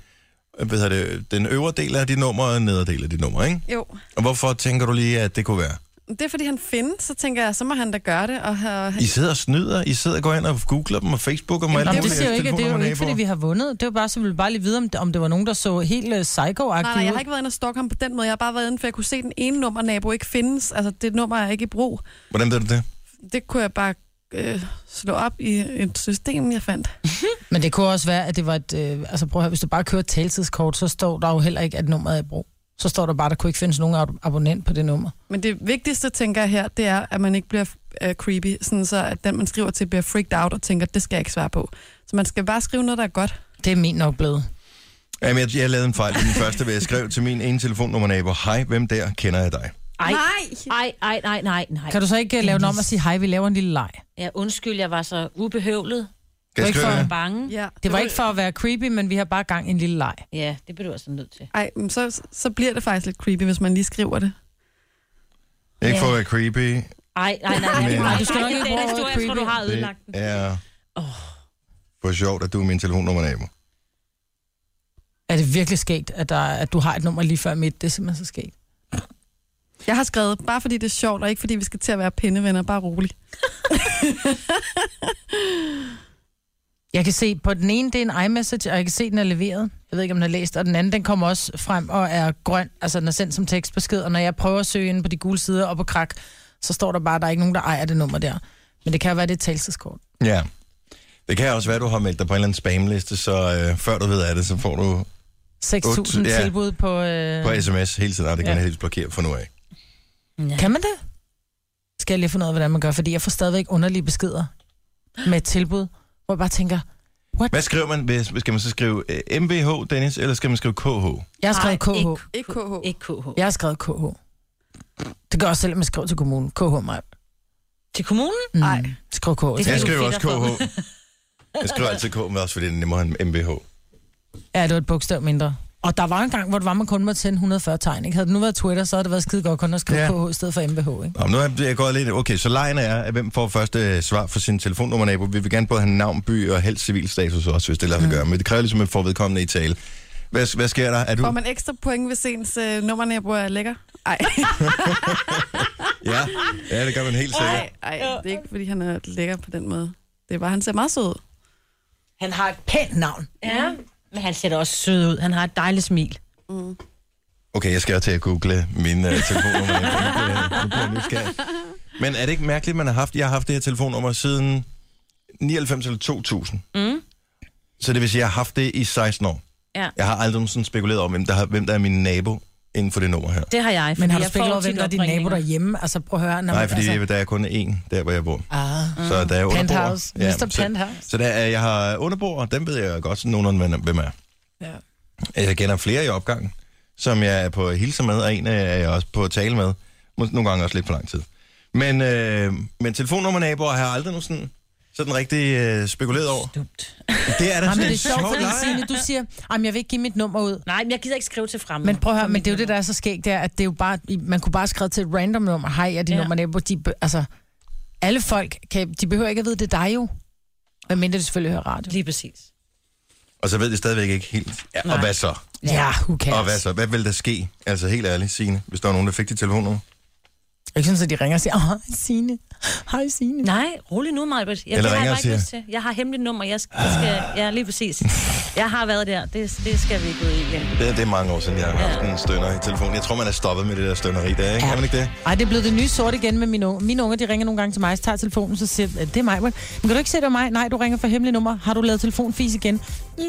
[SPEAKER 3] øh, hvad hedder det, den øvre del af dit nummer og den nedre del af dit nummer, ikke?
[SPEAKER 6] Jo.
[SPEAKER 3] Og hvorfor tænker du lige, at det kunne være?
[SPEAKER 6] Det er, fordi han findes, så tænker jeg, så må han da gøre det. Og have...
[SPEAKER 3] I sidder og snyder, I sidder og går ind og googler dem og facebooker dem og alt
[SPEAKER 4] Nå, men det
[SPEAKER 3] muligt,
[SPEAKER 4] siger jo
[SPEAKER 3] jeres
[SPEAKER 4] ikke, at det er jo ikke, fordi
[SPEAKER 3] telefonnummer-naboer.
[SPEAKER 4] vi har vundet. Det var bare, så vi ville bare lige vide, om, om det var nogen, der så helt øh, psycho-agtigt
[SPEAKER 6] Nej, nej, jeg har
[SPEAKER 4] ud.
[SPEAKER 6] ikke været inde og stalke ham på den måde. Jeg har bare været inde, for jeg kunne se, at den ene nummer nabo ikke findes. Altså, det nummer er ikke i brug.
[SPEAKER 3] Hvordan ved du det?
[SPEAKER 6] Det kunne jeg bare øh, slå op i et system, jeg fandt.
[SPEAKER 4] Men det kunne også være, at det var et... Øh, altså prøv at høre, hvis du bare kører et taltidskort, så står der jo heller ikke, at nummeret er i brug. Så står der bare, at der kunne ikke findes nogen ab- abonnent på det nummer.
[SPEAKER 6] Men det vigtigste, tænker jeg her, det er, at man ikke bliver øh, creepy, sådan så at den, man skriver til, bliver freaked out og tænker, det skal jeg ikke svare på. Så man skal bare skrive noget, der er godt.
[SPEAKER 4] Det er min nok blevet.
[SPEAKER 3] Jamen, jeg, jeg lavede en fejl i den første, hvor jeg skrev til min ene telefonnummer-nabo, hej, hvem der kender jeg dig?
[SPEAKER 5] Ej, nej, nej, nej, nej, nej.
[SPEAKER 4] Kan du så ikke øh, lave den om og sige, hej, vi laver en lille leg?
[SPEAKER 5] Ja, undskyld, jeg var så ubehøvlet.
[SPEAKER 3] Kan jeg
[SPEAKER 4] Ikke
[SPEAKER 3] skrive
[SPEAKER 4] for-
[SPEAKER 3] det?
[SPEAKER 5] Bange. Ja,
[SPEAKER 6] Ja,
[SPEAKER 4] Det var ikke for at være creepy, men vi har bare gang i en lille leg.
[SPEAKER 5] ja det bliver du altså nødt til.
[SPEAKER 6] Ej, men så, så bliver det faktisk lidt creepy, hvis man lige skriver det.
[SPEAKER 3] Ikke for at
[SPEAKER 5] Ja.
[SPEAKER 3] være creepy,
[SPEAKER 5] Ej, nej, nej, nej.
[SPEAKER 3] Men-
[SPEAKER 5] nej,
[SPEAKER 4] du skal nok
[SPEAKER 5] det er
[SPEAKER 4] ikke
[SPEAKER 5] en
[SPEAKER 4] bruge
[SPEAKER 5] historie, Jeg tror,
[SPEAKER 4] creepy.
[SPEAKER 5] du har ødelagt den.
[SPEAKER 3] Det er for sjovt, at du er min telefonnummer-nabo.
[SPEAKER 4] Er det virkelig skægt, at, der, at du har et nummer lige før midt? Det er simpelthen så skægt.
[SPEAKER 6] Jeg har skrevet, bare fordi det er sjovt, og ikke fordi vi skal til at være pindevenner, bare rolig.
[SPEAKER 4] Jeg kan se på den ene, det er en iMessage, og jeg kan se, den er leveret. Jeg ved ikke, om den er læst. Og den anden, den kommer også frem og er grøn. Altså, den er sendt som tekstbesked. Og når jeg prøver at søge ind på de gule sider og på krak, så står der bare, at der er ikke nogen, der ejer det nummer der. Men det kan jo være, det er et talelseskort.
[SPEAKER 3] Ja. Det kan også være, at du har meldt dig på en eller anden spamliste, så øh, før du ved af det, så får du
[SPEAKER 4] 6.000
[SPEAKER 3] Otte, ja.
[SPEAKER 4] tilbud på... Øh...
[SPEAKER 3] på sms hele tiden, og det kan
[SPEAKER 4] Ja.
[SPEAKER 3] ja. helt blokere for nu af.
[SPEAKER 4] Kan man det? Skal jeg lige finde ud af, hvordan man gør, fordi jeg får stadigvæk underlige beskeder med et tilbud, hvor jeg bare tænker,
[SPEAKER 3] Hvad skriver man? Hvis, skal man så skrive øh, MBH, Dennis, eller skal man skrive KH?
[SPEAKER 4] jeg har skrevet
[SPEAKER 5] Ej,
[SPEAKER 4] KH.
[SPEAKER 5] ikke-
[SPEAKER 6] Ikke KH.
[SPEAKER 5] Ikke KH.
[SPEAKER 4] Jeg har skrevet KH. Det gør jeg også selv, at man skriver til kommunen. KH mig.
[SPEAKER 5] Til kommunen?
[SPEAKER 4] Nej. Mm. Skriv KH.
[SPEAKER 5] Det
[SPEAKER 3] Jeg
[SPEAKER 5] er jo
[SPEAKER 3] skriver også
[SPEAKER 5] fedt at få.
[SPEAKER 3] KH. Jeg skriver altid KH, men også fordi det er nemmere end MBH.
[SPEAKER 4] Ja, det var et bogstav mindre. Og der var en gang, hvor det var, man kun måtte tænde 140 tegn. Ikke? Havde det nu været Twitter, så havde det været skide godt kun at skrive
[SPEAKER 3] Ja.
[SPEAKER 4] KH i stedet for MBH. Ikke?
[SPEAKER 3] Nå, men nu er jeg gået lidt... Okay, så lejen er, at hvem får første øh, svar for sin telefonnummer Vi vil gerne både have navn, by og helst civilstatus også, hvis det lader sig gøre. Men det kræver ligesom, at man får vedkommende i tale. Hvad, hvad sker der? Er du...
[SPEAKER 6] Får man ekstra point, hvis ens øh, nummernabo er lækker?
[SPEAKER 4] <laughs>
[SPEAKER 6] Ej.
[SPEAKER 3] Ja, ja det gør man helt
[SPEAKER 6] <laughs>
[SPEAKER 3] sikkert.
[SPEAKER 6] Ej, ej, det er ikke, fordi han er lækker på den måde. Det er bare, han ser meget sød ud.
[SPEAKER 4] Han har et pænt navn.
[SPEAKER 5] Ja. Men han ser da også sød ud. Han har et dejligt smil.
[SPEAKER 3] Okay, jeg skal til at google min uh, telefonnummer. Jeg bliver- jeg bliver nysgerrig. Men er det ikke mærkeligt, man har haft? Jeg har haft det her telefonnummer siden 99 eller 2000. Mm. Så det vil sige, jeg har haft det i 16 år.
[SPEAKER 5] Ja.
[SPEAKER 3] Jeg har aldrig sådan spekuleret over, hvem der, har, hvem der er min nabo inden for det nummer her.
[SPEAKER 5] Det har jeg.
[SPEAKER 4] Men
[SPEAKER 5] fordi
[SPEAKER 4] har du
[SPEAKER 5] jeg
[SPEAKER 4] spillet
[SPEAKER 5] får
[SPEAKER 4] over, hvem
[SPEAKER 5] tit
[SPEAKER 4] der er din
[SPEAKER 5] opringninger.
[SPEAKER 4] nabo derhjemme? Altså, prøv at høre. Når
[SPEAKER 3] Nej,
[SPEAKER 4] man-
[SPEAKER 3] fordi
[SPEAKER 4] altså,
[SPEAKER 3] der er kun én, der hvor jeg bor.
[SPEAKER 4] ah.
[SPEAKER 3] Så der er underbord.
[SPEAKER 4] Penthouse. Mr. Penthouse.
[SPEAKER 3] Så, så der er, jeg har underbord, og dem ved jeg godt sådan nogenlunde, hvem er.
[SPEAKER 4] ja.
[SPEAKER 3] Jeg kender flere i opgangen, som jeg er på hilser med, og en er jeg også på at tale med. Mås- Nogle gange også lidt for lang tid. Men, øh, men telefonnummer naboer har jeg aldrig nu sådan, sådan rigtig øh, spekuleret over.
[SPEAKER 5] <laughs> Dumt.
[SPEAKER 3] Det er da
[SPEAKER 4] Jamen,
[SPEAKER 3] sådan
[SPEAKER 4] det er
[SPEAKER 3] en sjov
[SPEAKER 4] sjovt, fordi
[SPEAKER 3] leg.
[SPEAKER 4] Signe, du siger, at jeg vil ikke give mit nummer ud.
[SPEAKER 5] Nej, men jeg gider ikke skrive til fremmede.
[SPEAKER 4] Men prøv at høre, men det er jo det, der er så skægt, det er, at det er jo bare, man kunne bare skrive til et random nummer, hej, er din ja.
[SPEAKER 5] Ja.
[SPEAKER 4] nummer nabo, de, bø- altså, Alle folk, kan, de behøver ikke at vide, det er dig jo. Hvad mindre de selvfølgelig hører radio.
[SPEAKER 5] Lige præcis.
[SPEAKER 3] Og så ved de stadigvæk ikke helt. Ja, og
[SPEAKER 5] Nej.
[SPEAKER 3] hvad så?
[SPEAKER 4] Ja, who cares?
[SPEAKER 3] Og hvad så? Hvad vil der ske? Altså helt ærligt, Signe, hvis der var nogen, der fik dit telefonnummer.
[SPEAKER 4] Jeg synes, at de ringer og siger, åh, Signe. Hej, Signe.
[SPEAKER 5] Nej, rolig nu, Majbert. Ja,
[SPEAKER 3] Eller
[SPEAKER 5] det har jeg
[SPEAKER 3] ringer
[SPEAKER 5] bare
[SPEAKER 3] og
[SPEAKER 5] ikke lyst til. Jeg har hemmeligt nummer. Jeg skal, jeg skal, ja, lige præcis. Jeg har været der. Det, det skal vi ikke ud i igen.
[SPEAKER 3] Det, det er mange år siden, jeg har haft en stønner i telefonen. Jeg tror, man er stoppet med det der stønneri der, ikke? Ja. Kan man ikke det?
[SPEAKER 4] Ej, det er blevet det nye sort igen med mine unge. Mine unger, de ringer nogle gange til mig, så tager jeg telefonen, så siger jeg, det er mig. Men kan du ikke se, det er mig? Nej, du ringer fra hemmelig nummer. Har du lavet telefonfis igen? Mm.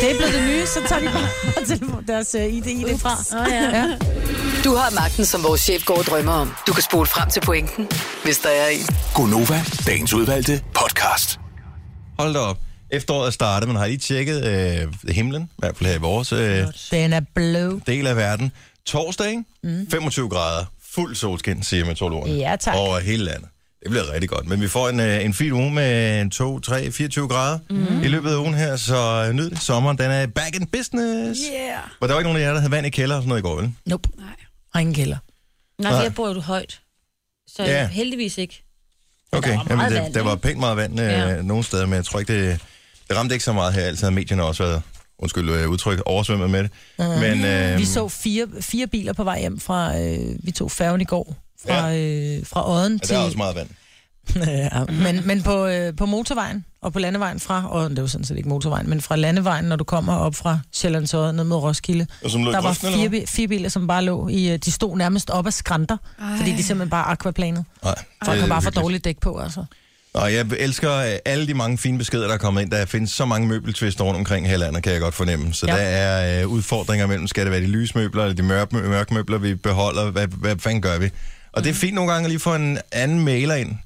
[SPEAKER 4] Det er blevet det nye, så tager de bare <laughs> telefon- deres øh, ID, ID fra.
[SPEAKER 5] Åh, ja.
[SPEAKER 4] Ja.
[SPEAKER 1] Du har magten, som vores chef går og drømmer om. Du kan spole frem til pointen, hvis der er en.
[SPEAKER 2] Gonova, dagens udvalgte podcast.
[SPEAKER 3] Hold da op. Efteråret er startet, men har I tjekket øh, himlen? I hvert fald her i vores øh,
[SPEAKER 4] Den er blå.
[SPEAKER 3] del af verden. Torsdag, ikke? Mm. 25 grader. Fuld solskin, siger meteorologerne.
[SPEAKER 4] Ja, tak.
[SPEAKER 3] Over hele landet. Det bliver rigtig godt. Men vi får en, øh, en fin uge med 2, 3, 24 grader mm. i løbet af ugen her, så øh, nyd det. Sommeren, den er back in business.
[SPEAKER 6] Yeah.
[SPEAKER 3] Og der var ikke nogen af jer, der havde vand i kælder og sådan noget i går, vel?
[SPEAKER 4] Nope.
[SPEAKER 6] Nej.
[SPEAKER 4] Og ingen kælder.
[SPEAKER 5] Nej,
[SPEAKER 3] Nej.
[SPEAKER 5] for jeg bor jo højt. Så
[SPEAKER 3] Ja.
[SPEAKER 5] ja. heldigvis ikke.
[SPEAKER 3] Okay,
[SPEAKER 5] var
[SPEAKER 3] Jamen,
[SPEAKER 5] meget
[SPEAKER 3] det,
[SPEAKER 5] vand,
[SPEAKER 3] der var
[SPEAKER 5] ikke?
[SPEAKER 3] pænt meget vand øh, ja.
[SPEAKER 5] Ja.
[SPEAKER 3] nogle steder, men jeg tror ikke, det, det ramte ikke så meget her. Altså, medierne har også været, undskyld øh, udtryk, oversvømmet med det. Mm. Men, øh,
[SPEAKER 4] Vi så fire, fire biler på vej hjem fra, øh, vi tog færgen i går, fra,
[SPEAKER 3] Ja.
[SPEAKER 4] øh, fra Odden
[SPEAKER 3] ja,
[SPEAKER 4] til...
[SPEAKER 3] der er også meget vand.
[SPEAKER 4] <laughs> Ja, men, men på, øh, på motorvejen og på landevejen fra, og det var sådan set ikke motorvejen, men fra landevejen, når du kommer op fra Sjællandsøjet ned mod Roskilde,
[SPEAKER 3] Og som lå i
[SPEAKER 4] der var
[SPEAKER 3] grøften, eller
[SPEAKER 4] fire, bi- fire biler, som bare lå i, øh, de stod nærmest op ad skrænter, Ej. fordi de simpelthen bare aquaplanede.
[SPEAKER 3] Nej,
[SPEAKER 4] Folk
[SPEAKER 3] det
[SPEAKER 4] har
[SPEAKER 3] er
[SPEAKER 4] bare for
[SPEAKER 3] hyggeligt.
[SPEAKER 4] dårligt dæk på, altså.
[SPEAKER 3] Og jeg elsker øh, alle de mange fine beskeder, der er kommet ind. Der findes så mange møbeltvister rundt omkring her i landet, kan jeg godt fornemme. Så ja.
[SPEAKER 4] Ja.
[SPEAKER 3] der er øh, udfordringer mellem, skal det være de lyse møbler, eller de mørke, mø- mørke møbler, vi beholder? Hvad, hvad fanden gør vi? Og det er fint nogle gange at lige få en anden mailer ind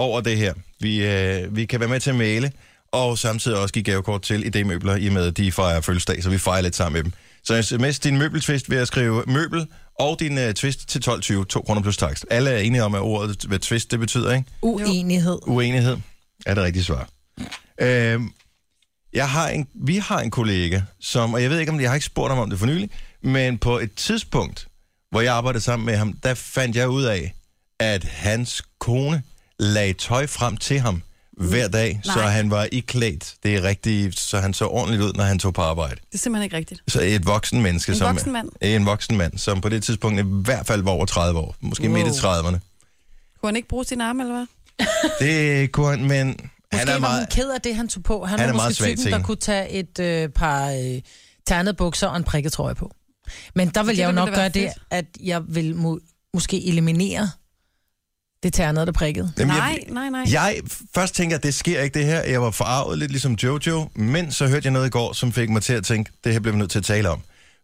[SPEAKER 3] over det her. Vi, øh, vi kan være med til at male, og samtidig også give gavekort til idémøbler, i og med at de fejrer fødselsdag, så vi fejrer lidt sammen med dem. Så sms din møbeltvist ved at skrive møbel og din øh, twist til 12.20, 2 kroner plus takst. Alle er enige om, at ordet, hvad twist det betyder, ikke?
[SPEAKER 4] Uenighed.
[SPEAKER 3] Uenighed er det rigtige svar. Øhm, jeg har en, vi har en kollega, som, og jeg ved ikke, om jeg har ikke spurgt ham om det for nylig, men på et tidspunkt, hvor jeg arbejdede sammen med ham, der fandt jeg ud af, at hans kone lagde tøj frem til ham hver dag, Nej. så han var iklædt. Det er rigtigt, så han så ordentligt ud, når han tog på arbejde.
[SPEAKER 6] Det er simpelthen ikke rigtigt.
[SPEAKER 3] Så et voksen menneske.
[SPEAKER 6] En
[SPEAKER 3] som,
[SPEAKER 6] voksen mand.
[SPEAKER 3] En voksen mand, som på det tidspunkt i hvert fald var over 30 år. Måske wow. midt i 30'erne.
[SPEAKER 6] Kunne han ikke bruge sin arme, eller hvad?
[SPEAKER 3] Det kunne han, men... han
[SPEAKER 4] Måske
[SPEAKER 3] er
[SPEAKER 4] var
[SPEAKER 3] meget,
[SPEAKER 4] hun ked af det, han tog på. Han,
[SPEAKER 3] Han
[SPEAKER 4] han
[SPEAKER 3] er
[SPEAKER 4] var
[SPEAKER 3] meget
[SPEAKER 4] måske
[SPEAKER 3] svag til
[SPEAKER 4] typen, der
[SPEAKER 3] hende.
[SPEAKER 4] kunne tage et øh, par øh, ternede bukser og en prikket trøje på. Men der vil
[SPEAKER 6] Det
[SPEAKER 4] jeg jo
[SPEAKER 6] ville
[SPEAKER 4] nok
[SPEAKER 6] da
[SPEAKER 4] gøre
[SPEAKER 6] være
[SPEAKER 4] det,
[SPEAKER 6] fedt.
[SPEAKER 4] at jeg vil må, måske eliminere det ternede, der prikkede.
[SPEAKER 3] Jamen, jeg-
[SPEAKER 6] Nej, nej, nej.
[SPEAKER 3] Jeg først tænker, at det sker ikke det her. Jeg var forarvet lidt ligesom Jojo, men så hørte jeg noget i går, som fik mig til at tænke, det her bliver vi nødt til at tale om.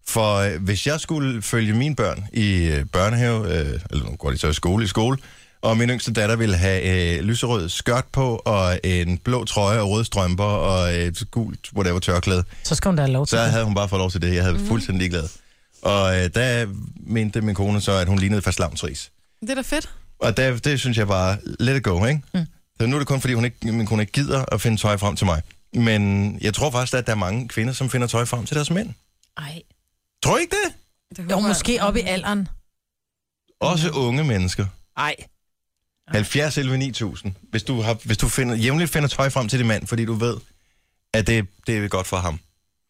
[SPEAKER 3] For øh, hvis jeg skulle følge mine børn i øh, børnehave, øh, eller nu går de så i skole i skole, og min yngste datter ville have øh, lyserød skørt på, og en blå trøje og røde strømper, og et gult, whatever, tørklæde,
[SPEAKER 4] Så skal hun da have lov til
[SPEAKER 3] så
[SPEAKER 4] det.
[SPEAKER 3] havde hun bare fået lov til det. Jeg havde mm. fuldstændig ligeglad. Og øh, der mente min kone så, at hun lignede fast lavnsris.
[SPEAKER 6] Det er da fedt.
[SPEAKER 3] Og der, det synes jeg bare, let it go, ikke? Mm. Så nu er det kun, fordi hun ikke, min kone ikke gider at finde tøj frem til mig. Men jeg tror faktisk, at der er mange kvinder, som finder tøj frem til deres mænd.
[SPEAKER 5] Ej.
[SPEAKER 3] Tror I ikke det?
[SPEAKER 6] det håber
[SPEAKER 4] Jo,
[SPEAKER 6] jeg.
[SPEAKER 4] måske op i alderen.
[SPEAKER 3] Også unge mennesker.
[SPEAKER 4] Nej.
[SPEAKER 3] 70 11 9000. Hvis du, har, hvis du finder, jævnligt finder tøj frem til din mand, fordi du ved, at det, det er godt for ham.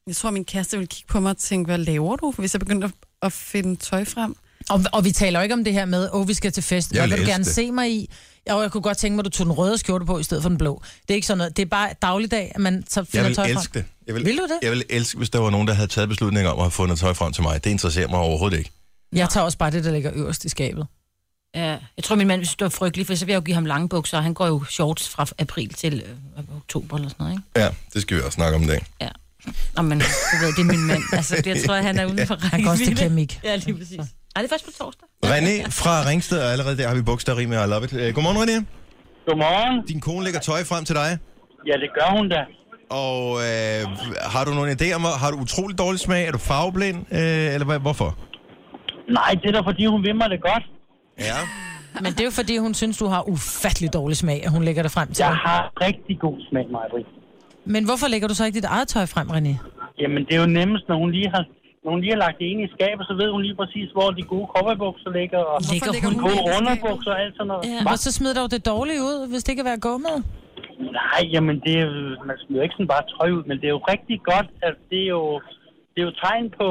[SPEAKER 6] Jeg tror, min kæreste ville kigge på mig og tænke, hvad laver du, hvis jeg begyndte at- at finde tøj frem?
[SPEAKER 4] Og, og vi taler jo ikke om det her med, åh, oh, vi skal til fest.
[SPEAKER 3] Jeg
[SPEAKER 4] Hvad
[SPEAKER 3] vil
[SPEAKER 4] vil du
[SPEAKER 3] elske
[SPEAKER 4] gerne
[SPEAKER 3] det.
[SPEAKER 4] se mig i? Jeg, jeg kunne godt tænke mig, at du tog den røde skjorte på, i stedet for den blå. Det er ikke sådan noget. Det er bare dagligdag, at man så
[SPEAKER 3] Jeg
[SPEAKER 4] finder
[SPEAKER 3] vil
[SPEAKER 4] tøj frem.
[SPEAKER 3] elske det. Jeg
[SPEAKER 4] Vil du det?
[SPEAKER 3] Jeg vil elske, hvis der var nogen, der havde taget beslutninger om at have fundet tøj frem til mig. Det interesserer mig overhovedet ikke.
[SPEAKER 4] Jeg tager også bare det, der ligger øverst i skabet.
[SPEAKER 5] Ja. Jeg tror, min mand synes, det var frygteligt, for så vil jeg jo give ham lange bukser, og han går jo shorts fra april til øh, oktober eller sådan noget, ikke?
[SPEAKER 3] Ja, det skal vi også snakke om i dag.
[SPEAKER 5] Ja. Nå, men du ved, det er min mand. Altså, det- jeg tror,
[SPEAKER 3] <laughs>
[SPEAKER 5] han er uden for rækkevidde.
[SPEAKER 4] Han går også til kemik.
[SPEAKER 5] Ja, lige præcis. Ej, det er først på torsdag.
[SPEAKER 3] René fra Ringsted, og allerede der har vi bogstaveri med I love it. Øh, Godmorgen, René.
[SPEAKER 7] Godmorgen.
[SPEAKER 3] Din kone lægger tøj frem til dig,
[SPEAKER 7] Ja, det gør hun da.
[SPEAKER 3] og øh, har du nogen idé om, hvor- har du utrolig dårlig smag? Er du farveblind, øh, eller hvad, hvorfor?
[SPEAKER 7] Nej, det er da fordi, hun vil mig det godt.
[SPEAKER 3] Ja.
[SPEAKER 4] Men det er jo fordi, hun synes, du har ufattelig dårlig smag, at hun lægger det frem til.
[SPEAKER 7] Jeg
[SPEAKER 4] dig.
[SPEAKER 7] har rigtig god smag, Majbrit.
[SPEAKER 4] Men hvorfor lægger du så ikke dit eget tøj frem, René?
[SPEAKER 7] Jamen, det er jo nemmest, når hun lige har Når hun lige har lagt det ene i skabet, så ved hun lige præcis, hvor de gode cowboybukser ligger, og
[SPEAKER 5] Ligger
[SPEAKER 6] ligger
[SPEAKER 5] hun?
[SPEAKER 6] hun-
[SPEAKER 7] gode underbukser og alt sådan noget.
[SPEAKER 5] Ja.
[SPEAKER 7] Ja.
[SPEAKER 4] Og så smider dog det dårlige ud, hvis det kan være gå med.
[SPEAKER 7] Nej, jamen det er, jo- man smider ikke sådan bare tøj ud, men det er jo rigtig godt, at det er jo, det er jo tegn på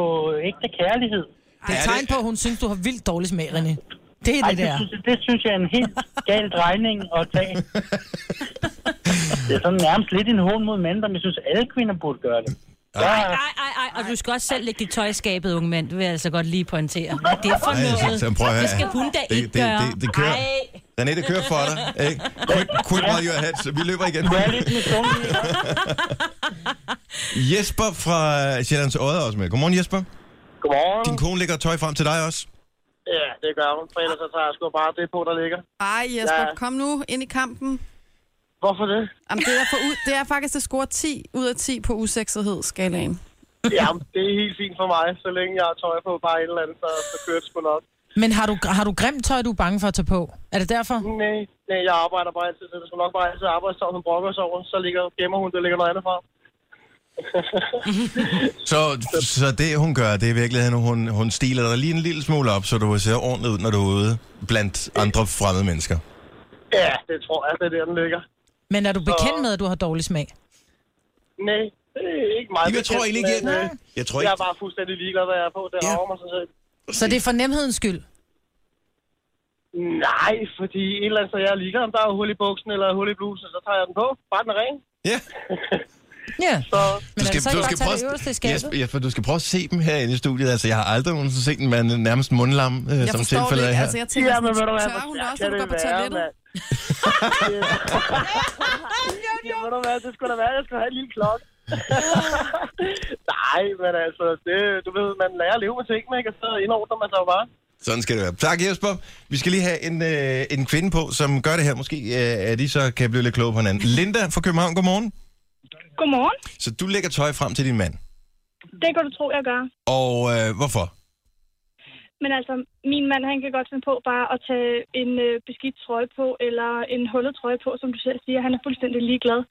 [SPEAKER 7] ægte kærlighed.
[SPEAKER 4] Det er et
[SPEAKER 3] det-
[SPEAKER 4] tegn på, at hun synes, du har vildt dårlig smag, René. Det er
[SPEAKER 7] Ej,
[SPEAKER 4] det,
[SPEAKER 7] det,
[SPEAKER 4] der.
[SPEAKER 7] synes, jeg- det synes jeg er en helt gal drejning at
[SPEAKER 4] <laughs>
[SPEAKER 7] tage. det er sådan nærmest lidt en hån mod mænd, men jeg synes, alle kvinder burde gøre det. Ja,
[SPEAKER 5] Ej, ej, ej, og du skal også selv lægge dit tøj i skabet, unge mand. Det vil jeg altså godt lige pointere. Det er for
[SPEAKER 3] Ej, jeg synes, han
[SPEAKER 5] noget.
[SPEAKER 3] prøver at
[SPEAKER 5] Det
[SPEAKER 3] høre.
[SPEAKER 5] skal hun da
[SPEAKER 3] Det-
[SPEAKER 5] ikke
[SPEAKER 3] det-
[SPEAKER 5] gøre.
[SPEAKER 3] det- det kører.
[SPEAKER 5] Ej.
[SPEAKER 3] René, det kører for dig. Ikke? Quit, quit while you're ahead, så vi løber igen.
[SPEAKER 7] du er lidt misundelig. ikke?
[SPEAKER 3] Jesper fra Sjællands Odde er også med. Godmorgen, Jesper.
[SPEAKER 7] Godmorgen.
[SPEAKER 3] Din kone lægger tøj frem til dig også.
[SPEAKER 7] Ja, det gør hun, for ellers så tager jeg sgu bare det på, der ligger.
[SPEAKER 6] Ej, Jesper,
[SPEAKER 7] Ja.
[SPEAKER 6] kom nu ind i kampen.
[SPEAKER 7] Hvorfor det?
[SPEAKER 6] Jamen, det, er for ud, det er faktisk at score 10 ud af 10 på useksethed-skalaen.
[SPEAKER 7] <laughs> Jamen, det er helt fint for mig, så længe jeg har tøj på bare et eller andet, så, så kører det sgu nok.
[SPEAKER 4] Men har du, har du grimt tøj, du er bange for at tage på? Er det derfor?
[SPEAKER 7] Nej, nej, jeg arbejder bare altid, så det skal nok bare altid arbejde, så hun brokker sig over, så ligger, gemmer hun, det ligger noget andet fra.
[SPEAKER 3] Så, så det, hun gør, det er i virkeligheden, hun, hun stiler dig lige en lille smule op, så du ser ordentligt ud, når du er ude blandt andre fremmede mennesker.
[SPEAKER 7] Ja, det tror jeg, det er der, den ligger.
[SPEAKER 4] Men er du bekendt med, at du har dårlig smag?
[SPEAKER 7] Nej, det er ikke mig.
[SPEAKER 3] Jamen, jeg tror egentlig ikke,
[SPEAKER 7] bekendt, men,
[SPEAKER 3] jeg,
[SPEAKER 7] øh,
[SPEAKER 3] jeg tror
[SPEAKER 7] Jeg
[SPEAKER 3] ikke,
[SPEAKER 7] er bare fuldstændig ligeglad, hvad jeg er på. Det
[SPEAKER 3] Ja.
[SPEAKER 7] rager mig sig selv.
[SPEAKER 4] Så det er for nemhedens skyld.
[SPEAKER 7] Nej, fordi et eller andet, så jeg er ligeglad, om der er hul i buksen eller hul i blusen, så tager jeg den på. Bare den er ren.
[SPEAKER 3] ja.
[SPEAKER 4] Ja.
[SPEAKER 7] Så
[SPEAKER 4] Men er
[SPEAKER 6] altså,
[SPEAKER 4] det så ikke bare at tage det øverste i skabet?
[SPEAKER 3] Jesper, Jesper, du skal prøve at se dem her inde i studiet. Altså, jeg har aldrig nogensinde set en mand nærmest mundlam, øh,
[SPEAKER 6] Jeg
[SPEAKER 3] som
[SPEAKER 6] forstår
[SPEAKER 3] tilfældet
[SPEAKER 6] det
[SPEAKER 3] er
[SPEAKER 6] ikke.
[SPEAKER 3] her.
[SPEAKER 6] Altså, jeg tænker,
[SPEAKER 7] ja, men ved du hvad,
[SPEAKER 6] tør hun
[SPEAKER 7] hvor
[SPEAKER 6] da også, når
[SPEAKER 7] kan
[SPEAKER 6] du
[SPEAKER 7] det
[SPEAKER 6] går på
[SPEAKER 7] være,
[SPEAKER 6] toilettet?
[SPEAKER 7] mand? ja, ved du hvad, det skulle da være, jeg skulle have en lille klokke. <laughs> Nej, men altså, det, du ved, man lærer at leve med tingene, ikke? Og så indordner man sig jo bare.
[SPEAKER 3] Sådan skal det være. Tak, Jesper. Vi skal lige have en, øh, en kvinde på, som gør det her. Måske øh, at de så kan blive lidt kloge på hinanden. Linda fra København, godmorgen.
[SPEAKER 8] Godmorgen.
[SPEAKER 3] Så du lægger tøj frem til din mand.
[SPEAKER 8] Det kan du tro, jeg gør.
[SPEAKER 3] Og øh, hvorfor?
[SPEAKER 8] Men altså, min mand, han kan godt finde på bare at tage en øh, beskidt trøje på, eller en hullet trøje på, som du selv siger. Han er fuldstændig ligeglad.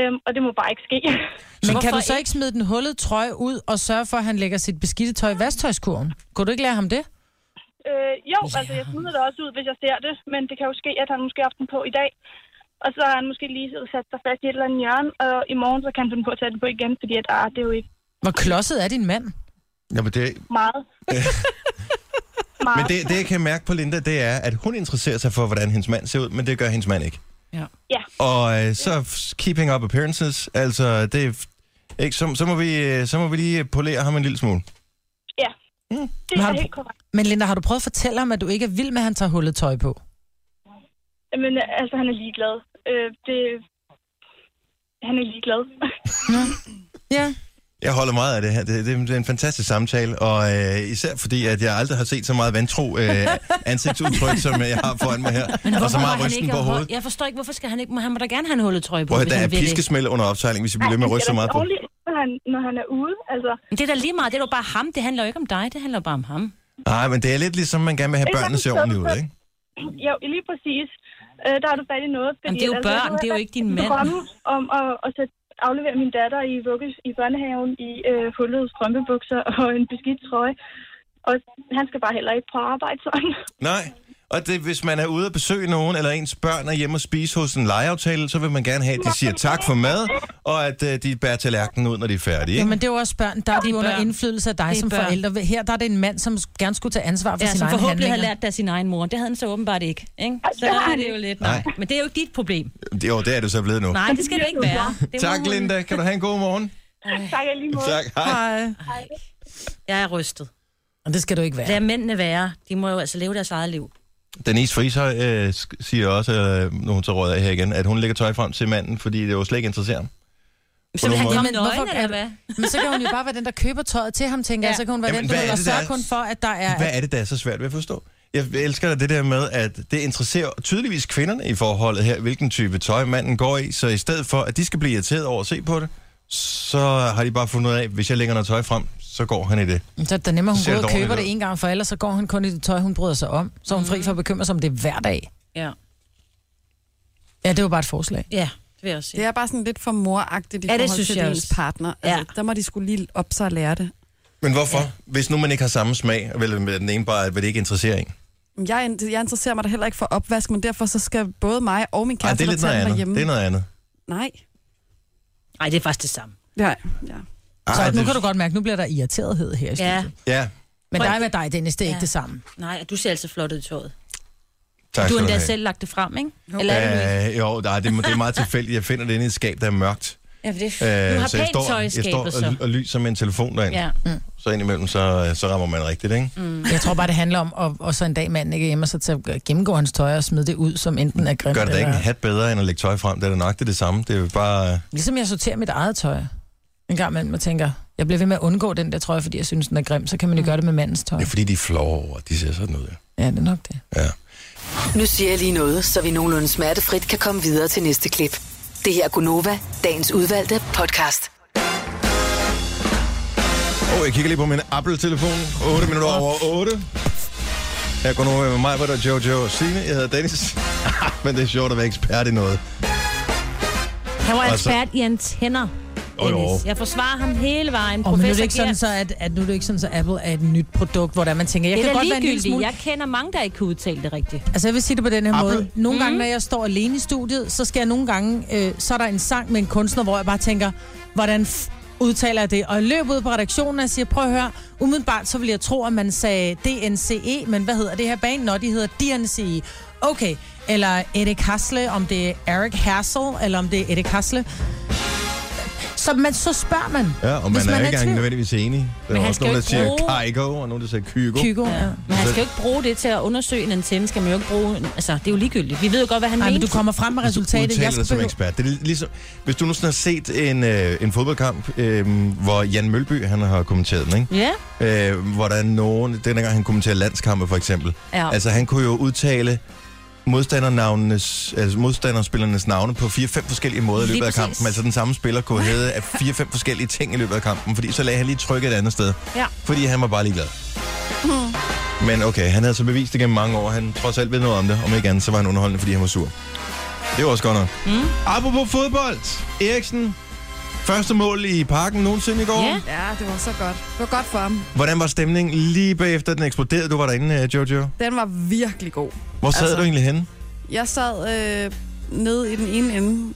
[SPEAKER 8] Øhm, og det må bare ikke ske.
[SPEAKER 4] Men kan
[SPEAKER 8] <laughs>
[SPEAKER 5] hvorfor
[SPEAKER 4] du så ikke smide den hullede trøje ud og sørge for, at han lægger sit beskidte tøj i vasktøjskurven? Kunne du ikke lære ham det?
[SPEAKER 8] øh, jo, altså, jeg smider det også ud, hvis jeg ser det, men det kan jo ske, at han måske har haft den på i dag. Og så har han måske lige sat sig fast i et eller andet hjørne, og i morgen så kan han finde på at tage den på igen, fordi at, ah, det er jo ikke
[SPEAKER 4] Hvor klodset er din mand?
[SPEAKER 3] Jamen, det,
[SPEAKER 8] meget.
[SPEAKER 3] men
[SPEAKER 8] meget.
[SPEAKER 3] det, det, jeg kan mærke på Linda, det er, at hun interesserer sig for, hvordan hendes mand ser ud, men det gør hendes mand ikke.
[SPEAKER 8] Ja,
[SPEAKER 3] Og øh, så f- keeping up appearances, altså, det er... f- Ikke, så, så, må vi, øh, så må vi lige polere ham en lille smule.
[SPEAKER 8] ja. Det
[SPEAKER 3] Mm.
[SPEAKER 4] Men har
[SPEAKER 8] er
[SPEAKER 4] du-
[SPEAKER 8] helt korrekt.
[SPEAKER 4] Men Linda, har du prøvet at fortælle ham, at du ikke er vild med, at han tager hullet tøj på?
[SPEAKER 8] Jamen, altså, han er ligeglad. Øh, det... Han er ligeglad.
[SPEAKER 4] Ja.
[SPEAKER 3] Jeg holder meget af det her. Det, det, det er en fantastisk samtale, og øh, især fordi, at jeg aldrig har set så meget vantro
[SPEAKER 5] <laughs>
[SPEAKER 3] øh, ansigtsudtryk, som jeg har foran mig her. og så
[SPEAKER 5] Hvorfor må
[SPEAKER 3] meget
[SPEAKER 5] han
[SPEAKER 3] rysten
[SPEAKER 5] ikke
[SPEAKER 3] på
[SPEAKER 5] have hul-
[SPEAKER 3] hovedet.
[SPEAKER 5] Jeg forstår ikke, hvorfor skal han ikke... må- Han må da gerne have en hullet trøje på,
[SPEAKER 3] Prøv, at
[SPEAKER 5] hvis
[SPEAKER 3] høre, der er
[SPEAKER 5] han vil det.
[SPEAKER 3] piskesmæld under opsejling, hvis vi bliver ved med at
[SPEAKER 8] Han
[SPEAKER 3] ryste så
[SPEAKER 8] skal da
[SPEAKER 3] meget på.
[SPEAKER 8] dårligt, når han, når han er ude. Altså,
[SPEAKER 5] Men det er da lige meget. Det er jo bare ham. Det handler jo ikke om dig. Det handler bare om ham.
[SPEAKER 3] Nej, men det er lidt ligesom, man gerne vil have
[SPEAKER 8] Ikke
[SPEAKER 3] børnene ser
[SPEAKER 8] langt
[SPEAKER 3] ordentligt ud,
[SPEAKER 8] sted.
[SPEAKER 3] ikke?
[SPEAKER 8] ja, lige præcis. Øh, der har du fat i noget. Fordi,
[SPEAKER 5] Jamen, det er jo
[SPEAKER 8] altså,
[SPEAKER 5] børn,
[SPEAKER 8] nu
[SPEAKER 5] det er jo ikke din
[SPEAKER 8] jeg
[SPEAKER 5] mand.
[SPEAKER 8] drømme om at, at sætte, aflevere min datter i, vugges, i børnehaven i øh, hullede strømpebukser og en beskidt trøje. Og han skal bare heller ikke på arbejde sådan.
[SPEAKER 3] Nej. Og det, hvis man er ude at besøge nogen, eller ens børn er hjemme og spise hos en legeaftale, så vil man gerne have, at de siger tak for mad, og at øh, de bærer tallerkenen ud, når de er færdige. Ikke?
[SPEAKER 4] Jamen, det er jo også børn, der er de under
[SPEAKER 5] børn.
[SPEAKER 4] indflydelse af dig
[SPEAKER 5] Det er
[SPEAKER 4] som
[SPEAKER 5] børn.
[SPEAKER 4] forældre. Her der er det en mand, som gerne skulle tage ansvar for
[SPEAKER 5] Ja,
[SPEAKER 4] sine
[SPEAKER 5] som
[SPEAKER 4] egne
[SPEAKER 5] Altså, forhåbentlig
[SPEAKER 4] handlinger.
[SPEAKER 5] har lært det af sin egen mor. Det havde han så åbenbart ikke. ikke? Så
[SPEAKER 8] det
[SPEAKER 5] der
[SPEAKER 8] har
[SPEAKER 5] er
[SPEAKER 8] han
[SPEAKER 5] det jo lidt. Nej.
[SPEAKER 3] Nej.
[SPEAKER 5] Men det er jo ikke dit problem.
[SPEAKER 3] Det- Jo, det er det så blevet nu.
[SPEAKER 5] Nej, det skal det ikke være. Det må
[SPEAKER 3] Tak,
[SPEAKER 5] hun-
[SPEAKER 3] Linda. Kan du have en god morgen?
[SPEAKER 8] tak jeg lige måde.
[SPEAKER 3] Tak. Hej.
[SPEAKER 4] Hej.
[SPEAKER 5] Jeg er rystet.
[SPEAKER 4] Og det skal du ikke være.
[SPEAKER 5] Lad mændene være. De må jo altså leve deres eget liv.
[SPEAKER 3] Denise Friser øh, sk- siger også, øh, når hun så råd af her igen, at hun lægger tøj frem til manden, fordi det jo slet ikke interesserer ham.
[SPEAKER 5] Så vil han
[SPEAKER 3] nogen
[SPEAKER 5] komme
[SPEAKER 4] måde. Jamen,
[SPEAKER 5] nøgen,
[SPEAKER 4] hvorfor
[SPEAKER 5] eller
[SPEAKER 4] gør
[SPEAKER 5] hvad?
[SPEAKER 4] Men så kan hun jo bare være den, der køber tøjet til ham, tænker
[SPEAKER 5] Ja.
[SPEAKER 4] ja. jeg. Så kan hun være
[SPEAKER 3] Jamen,
[SPEAKER 4] den, der
[SPEAKER 3] hvad er
[SPEAKER 4] hedder
[SPEAKER 3] det, der
[SPEAKER 4] sørg
[SPEAKER 3] er-
[SPEAKER 4] kun for, at der er...
[SPEAKER 3] Hvad er det, der er så svært ved at forstå? Jeg elsker da det der med, at det interesserer tydeligvis kvinderne i forholdet her, hvilken type tøj manden går i. Så i stedet for, at de skal blive irriteret over at se på det, så har de bare fundet ud af, at hvis jeg lægger noget tøj frem, så går han i det.
[SPEAKER 4] Så er det nemmere, hun
[SPEAKER 3] Ser
[SPEAKER 4] går ud og
[SPEAKER 3] dårligt
[SPEAKER 4] køber
[SPEAKER 3] ud.
[SPEAKER 4] det en gang for, ellers så går hun kun i det tøj, hun bryder sig om. Så er hun fri for at bekymre sig om det hver dag.
[SPEAKER 5] Ja.
[SPEAKER 4] Ja, det var bare et forslag.
[SPEAKER 5] ja, det vil jeg også sige.
[SPEAKER 6] Det er bare sådan lidt for moragtigt i
[SPEAKER 5] Ja, det
[SPEAKER 6] forhold
[SPEAKER 5] synes
[SPEAKER 6] til
[SPEAKER 5] jeg
[SPEAKER 6] ens
[SPEAKER 5] også.
[SPEAKER 6] partner. Altså,
[SPEAKER 5] Ja.
[SPEAKER 6] Der må de skulle lige op sig og lære det.
[SPEAKER 3] Men hvorfor? Ja. Hvis nu man ikke har samme smag, vil den ene bare, vil det ikke interessere en?
[SPEAKER 6] Men Jeg, er- jeg interesserer mig da heller ikke for opvask, men derfor så skal både mig og min
[SPEAKER 3] Ej,
[SPEAKER 6] kæreste
[SPEAKER 3] det er lidt noget
[SPEAKER 6] derhjemme.
[SPEAKER 3] andet. Det er noget andet.
[SPEAKER 6] Nej.
[SPEAKER 5] Nej, det er faktisk det samme.
[SPEAKER 6] Ja, ja.
[SPEAKER 4] Så
[SPEAKER 3] Ej,
[SPEAKER 4] nu
[SPEAKER 3] det-
[SPEAKER 4] kan du godt mærke, nu bliver der irriterethed her i
[SPEAKER 5] Ja,
[SPEAKER 4] studiet.
[SPEAKER 3] Ja,
[SPEAKER 4] Men dig med dig, Dennis, det er
[SPEAKER 5] Ja.
[SPEAKER 4] ikke det samme.
[SPEAKER 5] nej, og du ser altså flot ud i
[SPEAKER 3] tak
[SPEAKER 5] tøjet. Du
[SPEAKER 3] skal
[SPEAKER 5] har
[SPEAKER 3] du
[SPEAKER 5] endda
[SPEAKER 3] have.
[SPEAKER 5] selv lagt det frem, ikke? Eller er det Louise?
[SPEAKER 3] Øh, jo, nej, det, er- det er meget tilfældigt. Jeg finder det inde i et skab, der er mørkt.
[SPEAKER 5] Ja, for det
[SPEAKER 3] Øh,
[SPEAKER 5] er... Du har
[SPEAKER 3] så jeg
[SPEAKER 5] pænt
[SPEAKER 3] står,
[SPEAKER 5] tøj i
[SPEAKER 3] jeg står
[SPEAKER 5] skabet,
[SPEAKER 3] og,
[SPEAKER 5] så. Mm.
[SPEAKER 3] og lyser med en telefon derind.
[SPEAKER 5] Ja.
[SPEAKER 3] Så indimellem, så, øh, så rammer man rigtigt, ikke? Mm.
[SPEAKER 4] Jeg tror bare, det handler om, at, og så en dag manden ikke er hjemme, og så tage, gennemgå hans tøj og smide det ud, som enten er grimt
[SPEAKER 3] Gør det da ikke en
[SPEAKER 4] eller...
[SPEAKER 3] hat bedre, end at lægge tøj frem? Det er da nok det, er det samme. Det er jo bare... øh,
[SPEAKER 4] Ligesom jeg sorterer mit eget tøj en gang imellem og tænker, jeg bliver ved med at undgå den der trøje, fordi jeg synes, den er grim, så kan
[SPEAKER 5] Mm.
[SPEAKER 4] man jo gøre det med mandens tøj.
[SPEAKER 3] Det er fordi, de er flove over, at de ser sådan ud. ja.
[SPEAKER 4] Ja, det er nok det.
[SPEAKER 3] Ja.
[SPEAKER 1] Nu siger jeg lige noget, så vi nogenlunde smertefrit kan komme videre til næste klip. Det her er Gunova, dagens udvalgte podcast.
[SPEAKER 3] Åh, oh, jeg kigger lige på min Apple-telefon. 8 minutter over 8. Her går nu med mig, hvor der Jojo og Signe. Jeg hedder Dennis. <laughs> Men det er sjovt at være ekspert i noget.
[SPEAKER 5] Han var
[SPEAKER 3] Altså-
[SPEAKER 5] ekspert i antenner,
[SPEAKER 3] Jo, jo.
[SPEAKER 5] Dennis. Jeg forsvarer ham hele vejen.
[SPEAKER 4] Og men nu er det
[SPEAKER 5] Professor
[SPEAKER 4] ikke sådan,
[SPEAKER 5] Gert.
[SPEAKER 4] så, at, at, nu er det ikke sådan, så Apple er et nyt produkt, hvor der man tænker, jeg
[SPEAKER 5] Det er
[SPEAKER 4] kan
[SPEAKER 5] da
[SPEAKER 4] godt være en lille
[SPEAKER 5] ligegyldigt.
[SPEAKER 4] smule...
[SPEAKER 5] Jeg kender mange, der ikke kan udtale det rigtigt.
[SPEAKER 4] Altså jeg vil sige det på den her
[SPEAKER 3] Apple.
[SPEAKER 4] måde. Nogle gange, når jeg står alene i studiet, så skal jeg nogle gange, øh, så er der en sang med en kunstner, hvor jeg bare tænker, hvordan f- udtaler jeg det? Og jeg løb ud på redaktionen og jeg siger, prøv at høre, umiddelbart så ville jeg tro, at man sagde DNCE, E, men hvad hedder det her band? Nå, de hedder DNCE. E." Okay, eller Erik Hasle, om det er Eric Hassel, eller om det er Erik Hasle. Så, man, så spørger man.
[SPEAKER 3] Ja, og
[SPEAKER 4] Hvis
[SPEAKER 3] man,
[SPEAKER 4] man
[SPEAKER 3] er
[SPEAKER 4] er
[SPEAKER 3] ikke
[SPEAKER 4] i
[SPEAKER 3] engang
[SPEAKER 4] tvivl.
[SPEAKER 3] nødvendigvis enig. Der
[SPEAKER 5] Men
[SPEAKER 3] er
[SPEAKER 5] han
[SPEAKER 3] også
[SPEAKER 5] skal
[SPEAKER 3] nogen,
[SPEAKER 5] jo
[SPEAKER 3] der
[SPEAKER 5] ikke
[SPEAKER 3] siger
[SPEAKER 5] bruge-
[SPEAKER 3] Kaigo, og nogen, der siger Kygo.
[SPEAKER 4] Kygo.
[SPEAKER 5] Ja.
[SPEAKER 4] Ja.
[SPEAKER 5] Men
[SPEAKER 3] Altså-
[SPEAKER 5] han skal jo ikke bruge det til at undersøge en antenne. Skal man jo ikke bruge... Altså, det er jo ligegyldigt. Vi ved jo godt, hvad han
[SPEAKER 4] Ej, men
[SPEAKER 5] mente.
[SPEAKER 4] du kommer frem med
[SPEAKER 3] Hvis du
[SPEAKER 4] resultatet.
[SPEAKER 3] udtaler
[SPEAKER 4] Jeg
[SPEAKER 3] dig
[SPEAKER 4] skal
[SPEAKER 3] som
[SPEAKER 4] behøve...
[SPEAKER 3] ekspert. Det er ligesom, hvis du nu sådan har set en, øh, en fodboldkamp, øh, hvor Jan Mølby han har kommenteret den,
[SPEAKER 5] Ja,
[SPEAKER 3] ikke? Øh, hvor der er nogen, den gang han kommenterer landskampe for eksempel.
[SPEAKER 5] ja. Altså,
[SPEAKER 3] Altså han kunne jo udtale modstandernavnenes, altså modstanderspillernes navne på 4-5 forskellige måder i
[SPEAKER 5] Lige
[SPEAKER 3] løbet af
[SPEAKER 5] præcis.
[SPEAKER 3] kampen. Altså den samme spiller kunne hedde af 4-5 forskellige ting i løbet af kampen, fordi så lagde han lige trykket et andet sted.
[SPEAKER 5] Ja. Mm.
[SPEAKER 3] Fordi han var bare ligeglad. Men okay, han havde så bevist det gennem mange år. Han trods alt ved noget om det. Om ikke andet, så var han underholdende, fordi han var sur. Det var også godt nok. Mm. Apropos fodbold. Eriksen, første mål i parken nogensinde i går.
[SPEAKER 5] Ja.
[SPEAKER 6] ja, det var så godt. Det var godt for ham.
[SPEAKER 3] Hvordan var stemningen lige bagefter, den eksploderede? Du var derinde, øh, Jojo.
[SPEAKER 6] Den var virkelig god.
[SPEAKER 3] Hvor sad
[SPEAKER 6] Altså.
[SPEAKER 3] altså. du egentlig henne?
[SPEAKER 6] Jeg sad øh, nede i den ene ende.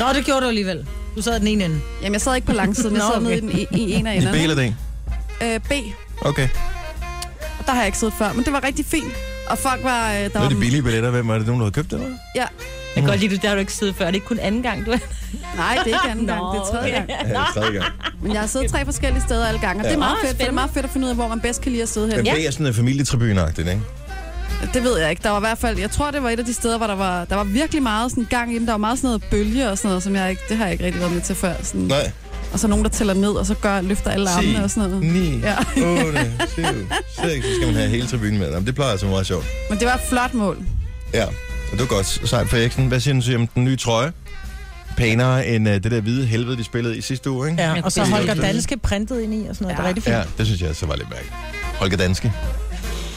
[SPEAKER 4] Nå, det gjorde du alligevel. Du sad i den ene ende.
[SPEAKER 6] Jamen, jeg sad ikke på langsiden. Jeg
[SPEAKER 5] <laughs>
[SPEAKER 4] Nå,
[SPEAKER 6] sad
[SPEAKER 4] okay.
[SPEAKER 6] nede i, den, e- i, i en af
[SPEAKER 3] I B
[SPEAKER 6] enderne.
[SPEAKER 3] eller D?
[SPEAKER 6] Øh, B.
[SPEAKER 3] Okay.
[SPEAKER 6] Der har jeg ikke siddet før, men det var rigtig fint. Og folk var... Øh, der
[SPEAKER 3] Nu er
[SPEAKER 6] var
[SPEAKER 3] det billige billetter. Hvem er det, nogen, der har købt det? eller?
[SPEAKER 6] Ja.
[SPEAKER 5] jeg kan godt lide, at der har du ikke siddet før. Det er ikke kun anden gang, du er.
[SPEAKER 6] Nej, det er ikke anden
[SPEAKER 5] Nå,
[SPEAKER 6] gang. Det er
[SPEAKER 3] <laughs>
[SPEAKER 6] tredje gang.
[SPEAKER 3] Ja, tredje gang.
[SPEAKER 6] Men jeg har siddet tre forskellige steder alle gange, og det er meget
[SPEAKER 5] Åh,
[SPEAKER 6] fedt, for det er
[SPEAKER 5] spændende.
[SPEAKER 6] meget fedt at finde ud af, hvor man bedst kan lide at sidde
[SPEAKER 3] Men
[SPEAKER 6] hen.
[SPEAKER 3] B er sådan en familietribune-agtigt, ikke?
[SPEAKER 6] Det ved jeg ikke. Der var i hvert fald, jeg tror, det var et af de steder, hvor der var, der var virkelig meget sådan gang i den. Der var meget sådan noget bølge og sådan noget, som jeg ikke, det har jeg ikke rigtig været med til før. Sådan.
[SPEAKER 3] Nej.
[SPEAKER 6] Og så nogen, der tæller ned, og så gør, løfter alle armene og sådan noget.
[SPEAKER 3] 9,
[SPEAKER 6] Ja.
[SPEAKER 3] 8, 7, 6. Så skal man have hele tribunen med. Jamen, det plejer altså at være meget sjovt.
[SPEAKER 6] Men det var et flot mål.
[SPEAKER 3] Ja, og det var godt. Sejt for Eriksen. Hvad siger du til om den nye trøje? Pænere end uh, det der hvide helvede, de spillede i sidste uge, ikke?
[SPEAKER 4] Ja, og så
[SPEAKER 3] det er
[SPEAKER 4] Holger
[SPEAKER 3] også det.
[SPEAKER 4] Danske printet ind i og sådan noget. Ja. Det er rigtig fint.
[SPEAKER 3] ja det synes jeg så var lidt mærkeligt. Holger Danske.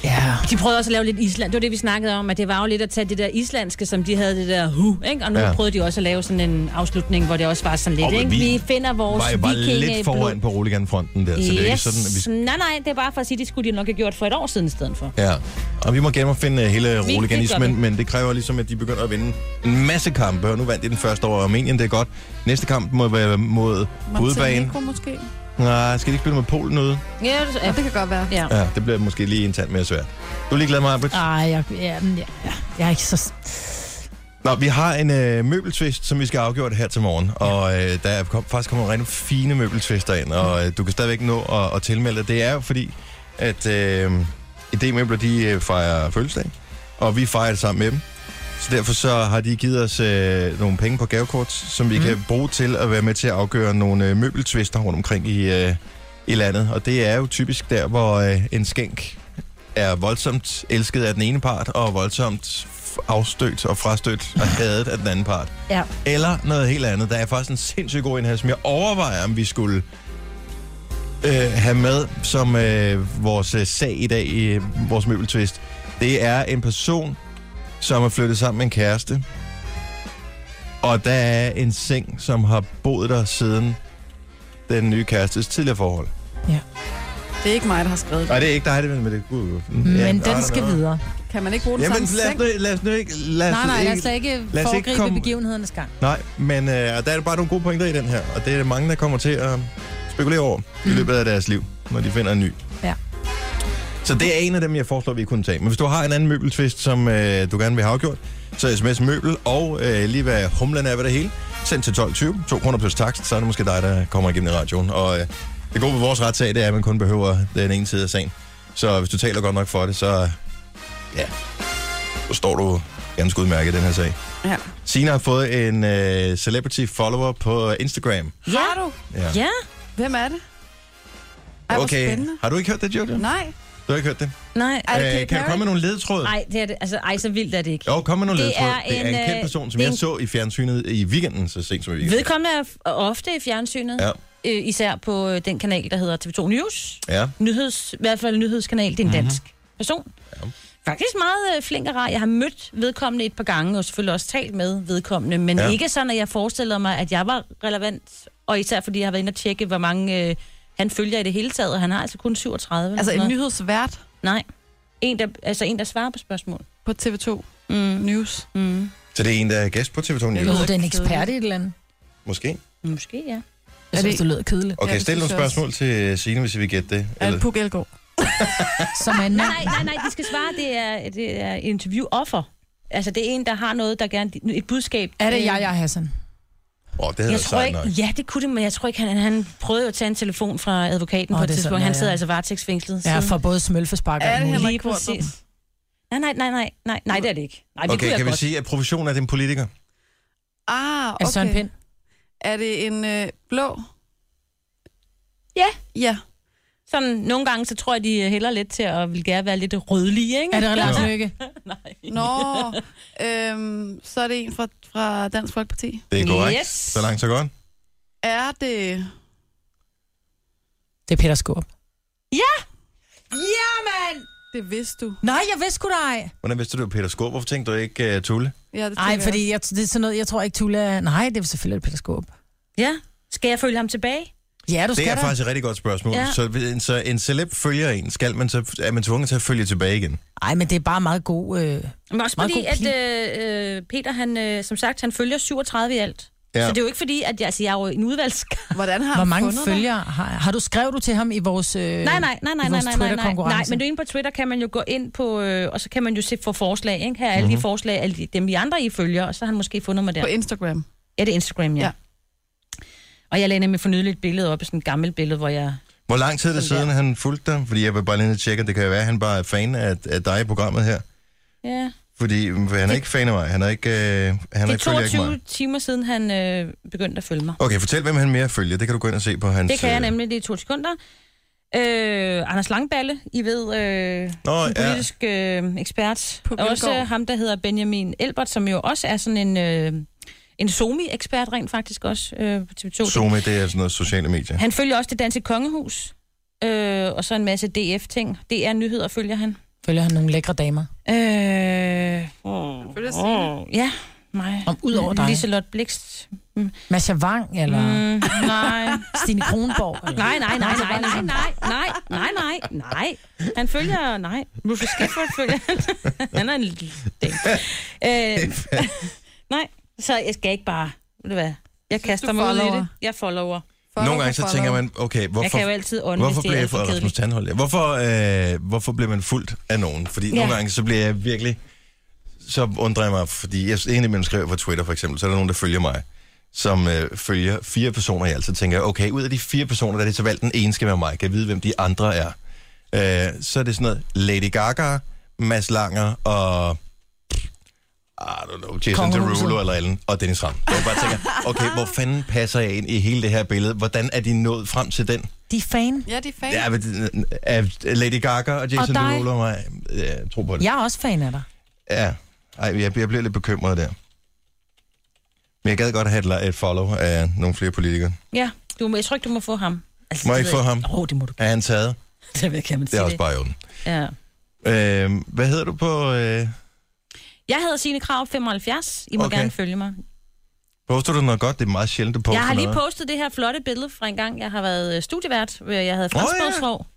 [SPEAKER 4] Ja.
[SPEAKER 5] De prøvede også at lave lidt Island. Det var det, vi snakkede om, at det var jo lidt at tage det der islandske, som de havde det der hu, ikke? Og nu
[SPEAKER 3] Ja.
[SPEAKER 5] ja. prøvede de også at lave sådan en afslutning, hvor det også var sådan lidt,
[SPEAKER 3] Åh, men
[SPEAKER 5] ikke?
[SPEAKER 3] vi
[SPEAKER 5] Vi finder vores
[SPEAKER 3] Var jo bare
[SPEAKER 5] vikinge
[SPEAKER 3] lidt foran på roliganfronten der, så
[SPEAKER 5] yes.
[SPEAKER 3] det er ikke sådan, at vi...
[SPEAKER 5] vi... Nej, nej, det er bare for at sige, at det skulle de nok have gjort for et år siden i stedet for.
[SPEAKER 3] Ja, og vi må genopfinde øh, hele
[SPEAKER 5] vi.
[SPEAKER 3] roliganismen, men det kræver ligesom, at de begynder at vinde en masse kampe, og nu vandt de den første over Armenien, det er godt. Næste kamp må være mod hovedbanen.
[SPEAKER 6] Montenegro måske.
[SPEAKER 3] Nej, skal de ikke spille med Polen ude?
[SPEAKER 5] Ja, det,
[SPEAKER 6] Ja,
[SPEAKER 5] ja.
[SPEAKER 6] det kan godt være.
[SPEAKER 5] ja.
[SPEAKER 3] Ja, det bliver måske lige internt mere svært. Du er lige glad med arbejde?
[SPEAKER 4] Ej, jeg, ja, men jeg, ja, jeg er ikke så...
[SPEAKER 3] Nå, vi har en øh, møbeltvist, som vi skal have afgjort her til morgen, og øh, der er kom, faktisk kommet rigtig fine møbeltvister ind, og øh, du kan stadigvæk nå at, at tilmelde dig. Det er jo fordi, at øh, idémøbler, de øh, fejrer fødselsdag, og vi fejrer det sammen med dem. Så derfor så har de givet os øh, nogle penge på gavekort, som vi mm. kan bruge til at være med til at afgøre nogle øh, møbeltvister rundt omkring i, øh, i landet. Og det er jo typisk der, hvor øh, en skænk er voldsomt elsket af den ene part, og voldsomt f- afstødt og frastødt
[SPEAKER 4] <laughs>
[SPEAKER 3] og hadet af den anden part.
[SPEAKER 4] Ja.
[SPEAKER 3] Eller noget helt andet. Der er faktisk en sindssygt god en her, som jeg overvejer, om vi skulle øh, have med som øh, vores øh, sag i dag i øh, vores møbeltvist. Det er en person, som er flyttet sammen med en kæreste. Og der er en seng, som har boet der siden den nye kærestes tidligere forhold.
[SPEAKER 4] Ja.
[SPEAKER 6] Det er ikke mig, der har skrevet det.
[SPEAKER 3] Nej, det er ikke dig, det er- men det kunne...
[SPEAKER 4] Mm, Men den skal videre.
[SPEAKER 6] Kan man ikke bruge den
[SPEAKER 3] Jamen,
[SPEAKER 6] samme
[SPEAKER 3] lad os,
[SPEAKER 6] seng?
[SPEAKER 3] nu, lad os nu ikke... Lad os
[SPEAKER 4] Nej, nej,
[SPEAKER 3] ikke,
[SPEAKER 4] lad os da ikke
[SPEAKER 3] lad os ikke
[SPEAKER 4] foregribe
[SPEAKER 3] komme-
[SPEAKER 4] begivenhedernes gang.
[SPEAKER 3] Nej, men øh, og der er bare nogle gode pointer i den her, og det er der mange, der kommer til at øh, spekulere over i løbet af deres liv, når de finder en ny.
[SPEAKER 4] Ja.
[SPEAKER 3] Så det er en af dem, jeg foreslår, vi kunne tage. Men hvis du har en anden møbeltvist, som øh, du gerne vil have afgjort, så sms møbel og øh, lige hvad humlen er ved det hele. Send til 12.20, 2 kroner plus takst, så er det måske dig, der kommer igennem i radioen. Og øh, det gode ved vores retssag, det er, at man kun behøver den ene side af sagen. Så hvis du taler godt nok for det, så øh, ja, så står du ganske udmærket i den her sag.
[SPEAKER 6] Ja.
[SPEAKER 3] Sina har fået en øh, celebrity follower på Instagram.
[SPEAKER 5] Ja.
[SPEAKER 6] Har du?
[SPEAKER 3] Ja.
[SPEAKER 5] Ja,
[SPEAKER 6] Hvem er det? Ej, hvor
[SPEAKER 3] okay.
[SPEAKER 6] spændende.
[SPEAKER 3] Har du ikke hørt det, Jojo?
[SPEAKER 6] Nej.
[SPEAKER 3] Du har ikke hørt det?
[SPEAKER 5] nej.
[SPEAKER 6] Er det
[SPEAKER 3] Øh,
[SPEAKER 6] Katy
[SPEAKER 3] kan du
[SPEAKER 6] Perry?
[SPEAKER 3] komme med nogle ledetråd?
[SPEAKER 5] Nej, det er det. Altså, ej, så vildt er det ikke.
[SPEAKER 3] Jo, kom med nogle
[SPEAKER 5] Det
[SPEAKER 3] ledetråd.
[SPEAKER 5] er
[SPEAKER 3] Det er en,
[SPEAKER 5] en,
[SPEAKER 3] kendt
[SPEAKER 5] øh,
[SPEAKER 3] person, som
[SPEAKER 5] det er
[SPEAKER 3] jeg
[SPEAKER 5] en-
[SPEAKER 3] så i fjernsynet i weekenden, så sent som i weekenden.
[SPEAKER 5] Vedkommende er f- ofte i fjernsynet.
[SPEAKER 3] Ja.
[SPEAKER 5] Øh, især på øh, den kanal, der hedder TV2 News.
[SPEAKER 3] Ja. Mhm.
[SPEAKER 5] Nyheds, I hvert fald en nyhedskanal. Det er en dansk person. Ja. Faktisk meget øh, flink og rar. Jeg har mødt vedkommende et par gange, og selvfølgelig også talt med vedkommende. Men
[SPEAKER 3] Ja.
[SPEAKER 5] ja. ikke sådan, at jeg forestiller mig, at jeg var relevant. Og især fordi jeg har været inde og tjekke, hvor mange øh, han følger i det hele taget. Og han har altså kun 37. eller
[SPEAKER 6] Altså
[SPEAKER 5] sådan
[SPEAKER 6] en
[SPEAKER 5] noget.
[SPEAKER 6] nyhedsvært
[SPEAKER 5] Nej. En, der, altså en, der svarer på spørgsmål.
[SPEAKER 6] på TV2
[SPEAKER 5] Mm.
[SPEAKER 6] News.
[SPEAKER 5] Mm.
[SPEAKER 3] Så det er en, der er gæst på TV2
[SPEAKER 4] Jo,
[SPEAKER 3] News.
[SPEAKER 6] ved
[SPEAKER 4] det er en
[SPEAKER 6] ikke,
[SPEAKER 4] ekspert i et eller andet.
[SPEAKER 3] Måske.
[SPEAKER 5] Måske, ja.
[SPEAKER 4] Jeg
[SPEAKER 6] Er
[SPEAKER 4] synes,
[SPEAKER 6] det-
[SPEAKER 4] det lyder kedeligt.
[SPEAKER 3] Okay,
[SPEAKER 6] det
[SPEAKER 3] stil
[SPEAKER 6] synes
[SPEAKER 3] nogle
[SPEAKER 6] jeg også.
[SPEAKER 3] spørgsmål til øh, Signe, hvis vi vil gætte det.
[SPEAKER 6] Er det
[SPEAKER 3] Eller,
[SPEAKER 6] Puk Elgård?
[SPEAKER 4] Som er en mand.
[SPEAKER 5] Nej, nej, nej, nej, de skal svare. Det er, det er interview-offer. Altså, det er en, der har noget, der gerne... Et budskab.
[SPEAKER 4] Er det
[SPEAKER 5] Øh,
[SPEAKER 4] jeg, jeg Hassan?
[SPEAKER 3] åh, det havde
[SPEAKER 5] Jeg
[SPEAKER 3] været
[SPEAKER 5] tror
[SPEAKER 3] sejt
[SPEAKER 5] ikke,
[SPEAKER 3] nok.
[SPEAKER 5] ja, det kunne det, men jeg tror ikke, han, han prøvede jo at tage en telefon fra advokaten
[SPEAKER 4] Åh,
[SPEAKER 5] oh, på et
[SPEAKER 4] det er
[SPEAKER 5] tidspunkt.
[SPEAKER 4] sådan,
[SPEAKER 5] han
[SPEAKER 4] ja,
[SPEAKER 5] sidder
[SPEAKER 4] ja.
[SPEAKER 5] altså varetægtsfængslet.
[SPEAKER 4] Ja,
[SPEAKER 5] så-
[SPEAKER 4] for både smølfespark og
[SPEAKER 6] Er
[SPEAKER 4] alt
[SPEAKER 6] det
[SPEAKER 4] muligt.
[SPEAKER 6] Henrik
[SPEAKER 5] lige præcis. Nej, nej, nej, nej, nej, nej, det er det ikke. Nej, det kunne
[SPEAKER 3] Okay,
[SPEAKER 5] jeg
[SPEAKER 3] kan vi
[SPEAKER 5] godt.
[SPEAKER 3] sige, at professionen er din politiker?
[SPEAKER 6] Ah,
[SPEAKER 4] Er det Søren
[SPEAKER 6] okay.
[SPEAKER 4] Pind?
[SPEAKER 6] Er det en øh, blå?
[SPEAKER 5] Ja.
[SPEAKER 6] Ja.
[SPEAKER 5] Sådan, nogle gange, så tror jeg, de øh, hælder lidt til at vil gerne være lidt rødlige, ikke?
[SPEAKER 4] Er det Lars
[SPEAKER 3] Ja.
[SPEAKER 4] Løkke?
[SPEAKER 5] Nej.
[SPEAKER 6] Nå, <laughs> øhm, så er det en fra, fra Dansk Folkeparti.
[SPEAKER 3] Det er korrekt.
[SPEAKER 5] Yes.
[SPEAKER 3] Så langt, så godt.
[SPEAKER 6] Er det...
[SPEAKER 4] Det er Peter Skorp.
[SPEAKER 6] Det vidste du.
[SPEAKER 4] Nej, jeg vidste sgu da ej.
[SPEAKER 3] Hvordan vidste du, det var Peter Skåb? Hvorfor tænkte du ikke uh, Tulle?
[SPEAKER 6] Ja, det
[SPEAKER 4] Ej,
[SPEAKER 6] tænker jeg.
[SPEAKER 4] fordi jeg, det er sådan noget, jeg tror ikke, Tulla... er- Nej, det er selvfølgelig Peter Skorp.
[SPEAKER 5] Ja, skal jeg følge ham tilbage?
[SPEAKER 4] Ja, du
[SPEAKER 3] Det
[SPEAKER 4] skal
[SPEAKER 3] er
[SPEAKER 4] da.
[SPEAKER 3] faktisk et rigtig godt spørgsmål. Ja.
[SPEAKER 5] Ja.
[SPEAKER 3] Så, en- så en celeb følger en. Skal man så, er man tvunget til at følge tilbage igen?
[SPEAKER 4] Ej, men det er bare meget god... Øh...
[SPEAKER 5] Men også
[SPEAKER 4] Meget
[SPEAKER 5] fordi,
[SPEAKER 4] god
[SPEAKER 5] at øh, øh, Peter, han, øh, som sagt, han følger 37 i alt.
[SPEAKER 3] Ja.
[SPEAKER 5] Ja. Så det er jo ikke fordi, at jeg, altså, jeg er jo en udvalgskamp.
[SPEAKER 6] Hvordan har
[SPEAKER 4] Hvor
[SPEAKER 6] han
[SPEAKER 4] mange
[SPEAKER 6] fundet dig?
[SPEAKER 4] følgere har, har du? Skrev du til ham i vores... Øh...
[SPEAKER 5] <laughs> Nej, nej, nej, nej,
[SPEAKER 4] i vores
[SPEAKER 5] nej, nej, nej, nej, nej,
[SPEAKER 4] Twitter-konkurrence.
[SPEAKER 5] men du er inde på Twitter, kan man jo gå ind på, øh, og så kan man jo se for forslag, ikke? Her er alle
[SPEAKER 4] Mhm.
[SPEAKER 5] mm-hmm. de forslag, alle de, dem I andre I følger, og så har han måske fundet mig der.
[SPEAKER 6] På Instagram.
[SPEAKER 5] Ja, det er Instagram, ja.
[SPEAKER 6] Ja.
[SPEAKER 5] ja. Og jeg lagde nemlig for nyligt et billede op, sådan et gammelt billede, hvor jeg...
[SPEAKER 3] Hvor lang tid er det
[SPEAKER 5] Sådan
[SPEAKER 3] siden, han fulgte dig? Fordi jeg vil bare lige ned og tjekke, at det kan jo være, at han bare er fan af, af dig i programmet her.
[SPEAKER 5] Ja,
[SPEAKER 3] Fordi mm, han er ikke fan af mig. Han er ikke, øh, han
[SPEAKER 5] det
[SPEAKER 3] er
[SPEAKER 5] er
[SPEAKER 3] ikke følger ikke mig.
[SPEAKER 5] 22 timer siden, han øh, begyndte at følge mig.
[SPEAKER 3] Okay, fortæl, hvem han mere følger. Det kan du gå ind og se på hans...
[SPEAKER 5] Det kan jeg
[SPEAKER 3] øh,
[SPEAKER 5] nemlig, det er i to sekunder. Øh, Anders Langballe, I ved, øh,
[SPEAKER 3] Nå,
[SPEAKER 5] en
[SPEAKER 3] ja.
[SPEAKER 5] politisk øh, ekspert.
[SPEAKER 6] På
[SPEAKER 5] Og også
[SPEAKER 6] Vilgaard.
[SPEAKER 5] øh, ham, der hedder Benjamin Elbert, som jo også er sådan en, øh, en somi-ekspert rent faktisk også øh, på TV2.
[SPEAKER 3] Zoom, det er sådan noget sociale medier.
[SPEAKER 5] Han følger også det danske kongehus, øh, og så en masse DF-ting. DR Nyheder følger han.
[SPEAKER 4] Følger han nogle lækre damer?
[SPEAKER 5] Øh,
[SPEAKER 6] Følger Signe.
[SPEAKER 5] mm, ja, mig.
[SPEAKER 4] Om ud over dig.
[SPEAKER 5] Liselotte Blikst.
[SPEAKER 4] Masha Wang eller mm.
[SPEAKER 5] Mm, nej.
[SPEAKER 4] Stine <laughs> Kronborg? Altså, Eller?
[SPEAKER 5] Nej, nej, nej, nej, nej, nej, nej, nej, nej, nej. Han følger, nej. Hvorfor Skafford følger han? <laughs> Han er en lille dame. Øh, <laughs> nej, så jeg skal ikke bare, ved du hvad, jeg kaster
[SPEAKER 6] du
[SPEAKER 5] mig ud i
[SPEAKER 6] follower?
[SPEAKER 5] det. Jeg follower.
[SPEAKER 6] Follow
[SPEAKER 3] Nogle gange så
[SPEAKER 6] for
[SPEAKER 3] tænker
[SPEAKER 6] follow.
[SPEAKER 3] man, okay,
[SPEAKER 5] Jeg
[SPEAKER 3] hvorfor,
[SPEAKER 5] kan jo altid ånde,
[SPEAKER 3] hvorfor
[SPEAKER 5] hvis det
[SPEAKER 3] bliver
[SPEAKER 5] er
[SPEAKER 3] jeg
[SPEAKER 5] alt for
[SPEAKER 3] for Rasmus
[SPEAKER 5] kedeligt.
[SPEAKER 3] Tandhold? ja. Hvorfor, øh, hvorfor bliver man fuldt af nogen? Fordi ja.
[SPEAKER 5] Ja.
[SPEAKER 3] nogle gange, så bliver jeg virkelig... Så undrer jeg mig, fordi jeg egentlig mellem skriver på Twitter for eksempel, så er der nogen, der følger mig, som øh, følger fire personer, jeg altid tænker, okay, ud af de fire personer, der er det så valgt, den ene skal være mig, kan jeg vide, hvem de andre er. Øh, så er det sådan noget Lady Gaga, Mads Langer og... I don't know, Jason
[SPEAKER 4] Kongehuset.
[SPEAKER 3] Derulo eller Ellen, og Dennis Ram. Jeg bare tænker, okay, hvor fanden passer jeg ind i hele det her billede? Hvordan er de nået frem til den?
[SPEAKER 4] De er fan.
[SPEAKER 6] Ja, de er fan.
[SPEAKER 3] Ja, men, øh, øh, Lady Gaga og Jason
[SPEAKER 4] Og dig.
[SPEAKER 3] Derulo og mig. øh, Jeg tror på det.
[SPEAKER 4] Jeg er også fan af dig.
[SPEAKER 3] Ja. Ej, jeg, jeg bliver lidt bekymret der. Men jeg gad godt have et, li- et follow af nogle flere politikere.
[SPEAKER 5] Ja, du, må- jeg tror ikke, du må få ham. Altså,
[SPEAKER 3] Må
[SPEAKER 5] det
[SPEAKER 3] jeg ikke
[SPEAKER 5] ved
[SPEAKER 3] få ham?
[SPEAKER 5] Åh, oh, det må du
[SPEAKER 3] Er han taget?
[SPEAKER 5] Det ved jeg, kan man
[SPEAKER 3] Det er
[SPEAKER 5] sige
[SPEAKER 3] også
[SPEAKER 5] det.
[SPEAKER 3] bare i orden.
[SPEAKER 5] Ja.
[SPEAKER 3] Øh, hvad hedder du på... Øh,
[SPEAKER 5] Jeg hedder Signe Krav 75. I må
[SPEAKER 3] Okay.
[SPEAKER 5] okay. gerne følge mig.
[SPEAKER 3] poster du noget godt? Det er meget sjældent, du poster
[SPEAKER 5] Jeg har lige
[SPEAKER 3] noget.
[SPEAKER 5] postet det her flotte billede fra en gang, jeg har været øh, studievært. hvor Jeg havde
[SPEAKER 3] ja.
[SPEAKER 5] franskbogsrov.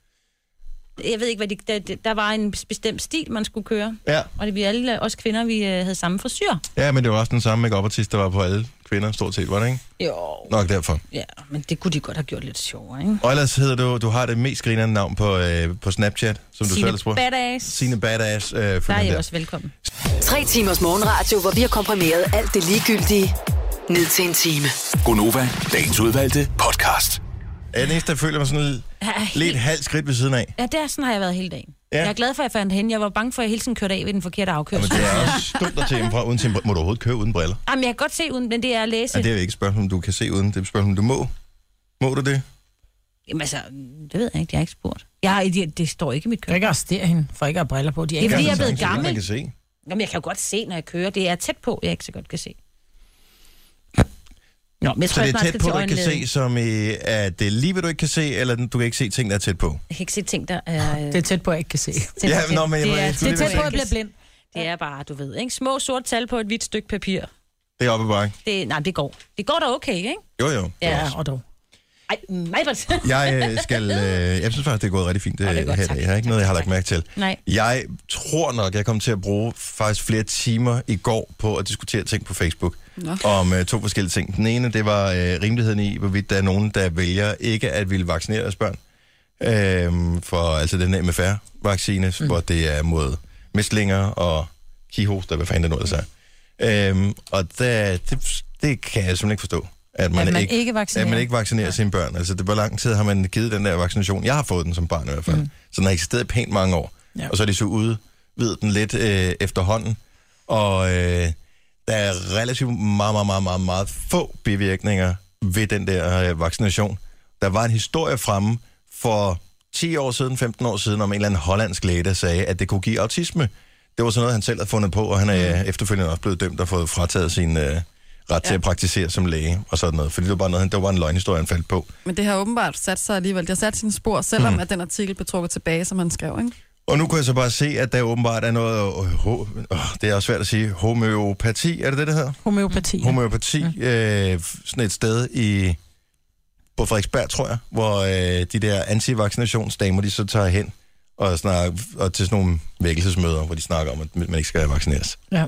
[SPEAKER 5] jeg ved ikke, hvad de, der, der- der var en bestemt stil, man skulle køre.
[SPEAKER 3] Ja.
[SPEAKER 5] Og det vi alle, os kvinder, vi øh, havde samme frisyr.
[SPEAKER 3] ja, men det var også den samme make-up-artist, der var på alle kvinder, stort set, var det ikke?
[SPEAKER 5] Jo.
[SPEAKER 3] Nok derfor.
[SPEAKER 5] Ja, men det kunne de godt have gjort lidt sjovere, ikke?
[SPEAKER 3] Og ellers hedder du, du har det mest grinerende navn på, øh, på Snapchat, som du selv
[SPEAKER 5] Sine
[SPEAKER 3] spurgte.
[SPEAKER 5] badass.
[SPEAKER 3] Sine Badass. Øh,
[SPEAKER 5] Der er
[SPEAKER 3] der
[SPEAKER 5] I
[SPEAKER 3] der.
[SPEAKER 5] også velkommen.
[SPEAKER 1] Tre timers morgenradio, hvor vi har komprimeret alt det ligegyldige ned til en time.
[SPEAKER 2] Gonova, dagens udvalgte podcast.
[SPEAKER 3] Er den eneste, der føler mig sådan
[SPEAKER 5] Ja,
[SPEAKER 3] lidt
[SPEAKER 5] helt-
[SPEAKER 3] halvt skridt ved siden af?
[SPEAKER 5] Ja, det er sådan, har jeg været hele dagen.
[SPEAKER 3] Ja.
[SPEAKER 5] Ja. Jeg er glad for, at jeg fandt hende. Jeg var bange for, at jeg hele tiden kørte af ved den forkerte
[SPEAKER 3] Men
[SPEAKER 5] afkørsel.
[SPEAKER 3] det er også dumt at tage fra uden til, Må du overhovedet køre uden briller?
[SPEAKER 5] Jamen, jeg kan godt se uden, men det er at læse.
[SPEAKER 3] Ja, det er jo ikke et spørgsmål, om du kan se uden. Det er et spørgsmål, om du må. Må du det?
[SPEAKER 5] Jamen altså, det ved jeg ikke, jeg har ikke spurgt. Jeg har, det, det står ikke i mit
[SPEAKER 4] Kan du
[SPEAKER 5] køkken.
[SPEAKER 4] ikke arrestere hende, for ikke at have briller på? De er
[SPEAKER 5] Det er
[SPEAKER 4] ikke
[SPEAKER 5] fordi,
[SPEAKER 3] Ja,
[SPEAKER 5] jeg er
[SPEAKER 3] men
[SPEAKER 5] blevet
[SPEAKER 3] så længe Man
[SPEAKER 5] gammel.
[SPEAKER 3] kan se.
[SPEAKER 5] Jamen, jeg kan jo godt se, når jeg kører. Det er tæt på, jeg ikke så godt kan se. Nå, men jeg
[SPEAKER 3] Så
[SPEAKER 5] tror, jeg
[SPEAKER 3] det er
[SPEAKER 5] snart
[SPEAKER 3] tæt
[SPEAKER 5] skal
[SPEAKER 3] på,
[SPEAKER 5] til
[SPEAKER 3] du ikke kan se,
[SPEAKER 5] øjenlægen.
[SPEAKER 3] som i, at det er lige ved, du ikke kan se, eller den- du kan ikke se ting, der er tæt på.
[SPEAKER 5] Jeg kan ikke se ting, der er... øh,
[SPEAKER 4] Det er tæt på, at jeg ikke kan se. Det
[SPEAKER 5] tænder
[SPEAKER 3] Ja, men nå, men jeg må-
[SPEAKER 5] det, er,
[SPEAKER 3] jeg skulle
[SPEAKER 5] det,
[SPEAKER 4] er
[SPEAKER 5] er
[SPEAKER 3] lige
[SPEAKER 4] tæt
[SPEAKER 3] ved
[SPEAKER 5] tæt
[SPEAKER 3] at
[SPEAKER 4] på, at jeg bliver blind.
[SPEAKER 5] det er bare, du ved, ikke? Små sorte tal på et hvidt stykke papir.
[SPEAKER 3] Det er oppe bare.
[SPEAKER 5] Det, nej, det går. Det går da okay, ikke?
[SPEAKER 3] Jo, jo.
[SPEAKER 4] Ja, og dog.
[SPEAKER 5] Ej, mig
[SPEAKER 3] Jeg øh, skal... Øh, jeg synes faktisk, det er gået rigtig fint øh,
[SPEAKER 5] det er godt,
[SPEAKER 3] her i
[SPEAKER 5] tak.
[SPEAKER 3] dag. Jeg har ikke noget, jeg har lagt mærke til.
[SPEAKER 5] Nej.
[SPEAKER 3] Jeg tror nok, jeg kom til at bruge faktisk flere timer i går på at diskutere ting på Facebook. Nå. Om øh, to forskellige ting. Den ene, det var øh, rimeligheden i, hvorvidt der er nogen, der vælger ikke at ville vaccinere deres børn. Øh, for altså den her MFR-vaccine, mm. hvor det er mod mæslinger og kihoster, hvad fanden det nu ellers er. Øhm, og der, det, det kan jeg simpelthen ikke forstå. At man,
[SPEAKER 4] At man
[SPEAKER 3] ikke,
[SPEAKER 4] ikke vaccinerer.
[SPEAKER 3] At man ikke vaccinerer ja. sine børn. Altså, det, hvor lang tid har man givet den der vaccination? Jeg har fået den som barn i hvert fald. Mm. Så den har eksisteret i pænt mange år. Ja.
[SPEAKER 4] Ja.
[SPEAKER 3] Og så er de så udvidet den lidt øh, efterhånden. Og øh, der er relativt meget, meget, meget, meget, meget få bivirkninger ved den der øh, vaccination. Der var en historie fremme for 10 år siden, 15 år siden, om en eller anden hollandsk læge, der sagde, at det kunne give autisme. Det var sådan noget, han selv havde fundet på, og han er efterfølgende også blevet dømt og fået frataget sin øh, ret til at praktisere som læge og sådan noget. Fordi det var bare, noget, han- det var bare en løgnhistorie, han faldt på.
[SPEAKER 6] Men det har åbenbart sat sig alligevel. Det har sat sine spor, selvom
[SPEAKER 3] Hmm.
[SPEAKER 6] mm. at den artikel blev trukket tilbage, som han skrev. Ikke?
[SPEAKER 3] Og nu kan jeg så bare se, at der åbenbart er noget... Øh, ho, øh, det er også svært at sige. Homøopati, er det det, det hedder?
[SPEAKER 4] Homøopati.
[SPEAKER 3] Homøopati, øh, f- sådan et sted i... På Frederiksberg, tror jeg, hvor øh, de der antivaccinationsdamer, de så tager hen og, snakker, og til sådan nogle vækkelsesmøder, hvor de snakker om, at man ikke skal vaccineres.
[SPEAKER 4] Ja.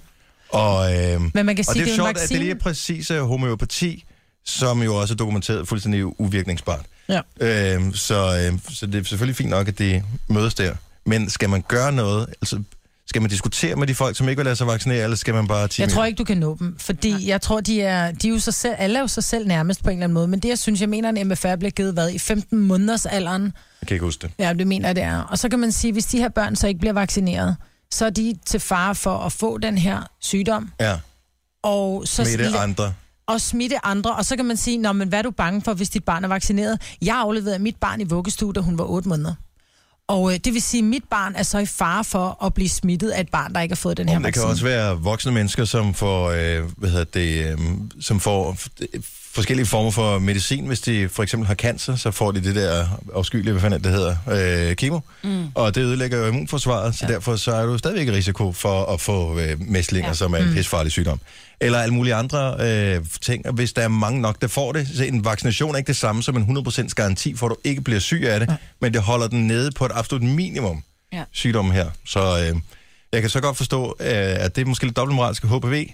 [SPEAKER 3] Og, øh,
[SPEAKER 4] Men man kan
[SPEAKER 3] og
[SPEAKER 4] sige,
[SPEAKER 3] det er jo
[SPEAKER 4] en
[SPEAKER 3] sjovt, at det
[SPEAKER 4] vaccine.
[SPEAKER 3] lige er præcis er homøopati, som jo også er dokumenteret fuldstændig uvirkningsbart.
[SPEAKER 4] Ja.
[SPEAKER 3] Øhm, så, øh, så det er selvfølgelig fint nok, at det mødes der. Men skal man gøre noget? Altså, skal man diskutere med de folk, som ikke vil lade sig vaccinere, eller skal man bare...
[SPEAKER 4] Jeg tror ikke, du kan nå dem, fordi jeg tror, de er, de er jo sig selv, alle er jo sig selv nærmest på en eller anden måde, men det, jeg synes, jeg mener, en MFR bliver givet, hvad, i 15 måneders alderen,
[SPEAKER 3] Jeg kan ikke huske det.
[SPEAKER 4] ja, det mener jeg, det er. Og så kan man sige, hvis de her børn så ikke bliver vaccineret, så er de til fare for at få den her sygdom,
[SPEAKER 3] Ja,
[SPEAKER 4] og så
[SPEAKER 3] med det andre.
[SPEAKER 4] og smitte andre, og så kan man sige, Nå, men hvad er du bange for, hvis dit barn er vaccineret? Jeg afleverede mit barn i vuggestue, da hun var 8 måneder. Og øh, det vil sige, at mit barn er så i fare for at blive smittet af et barn, der ikke har fået den her
[SPEAKER 3] Om det kan
[SPEAKER 4] vaccine.
[SPEAKER 3] også være voksne mennesker, som får, øh, hvad hedder det, øh, som får f- d- forskellige former for medicin. Hvis de for eksempel har cancer, så får de det der afskyelige, hvad fanden er det det hedder, øh, kemo. Mm. Og det ødelægger jo immunforsvaret, så ja. derfor så er du stadigvæk i risiko for at få øh, mæslinger, ja. som er en mm. pisfarlig sygdom. Eller alle mulige andre øh, ting. Og hvis der er mange nok, der får det, så en vaccination er ikke det samme som en 100% garanti for, at du ikke bliver syg af det, ja. men det holder den nede på et absolut minimum ja.
[SPEAKER 5] Ja.
[SPEAKER 3] sygdom her. Så... Øh, jeg kan så godt forstå, øh, at det er måske lidt dobbeltmoralske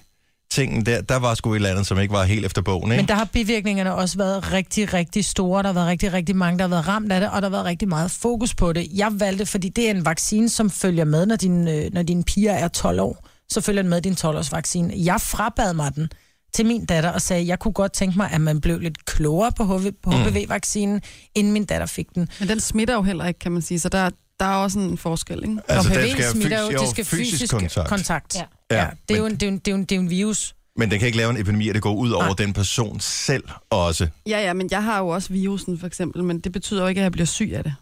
[SPEAKER 3] HPV-tingen der. Der var sgu et eller andet, som ikke var helt efter bogen, ikke?
[SPEAKER 4] Men der har bivirkningerne også været rigtig, rigtig store. Der har været rigtig, rigtig mange, der har været ramt af det, og der har været rigtig meget fokus på det. Jeg valgte, fordi det er en vaccine, som følger med, når dine, øh, når dine piger er 12 år. Så følger den med din 12-års vaccine. Jeg frabad mig den til min datter og sagde, jeg kunne godt tænke mig, at man blev lidt klogere på
[SPEAKER 3] Mm.
[SPEAKER 4] HPV-vaccinen, inden min datter fik den.
[SPEAKER 6] Men den smitter jo heller ikke, kan man sige. Så der, der er også en forskel. Ikke?
[SPEAKER 3] Altså,
[SPEAKER 4] Og
[SPEAKER 3] den
[SPEAKER 4] HPV
[SPEAKER 3] skal
[SPEAKER 4] smitter
[SPEAKER 3] fysi- jo, fysisk kontakt.
[SPEAKER 4] kontakt. Ja.
[SPEAKER 5] Ja.
[SPEAKER 3] Ja,
[SPEAKER 4] Ja, det er jo
[SPEAKER 3] men-
[SPEAKER 4] en, det er jo en, det er jo en, det er jo en virus.
[SPEAKER 3] Men den kan ikke lave en epidemi, og det går ud over
[SPEAKER 4] Nej.
[SPEAKER 3] den person selv også.
[SPEAKER 6] Ja, ja, men jeg har jo også virusen, for eksempel. Men det betyder jo ikke, at jeg bliver syg af det.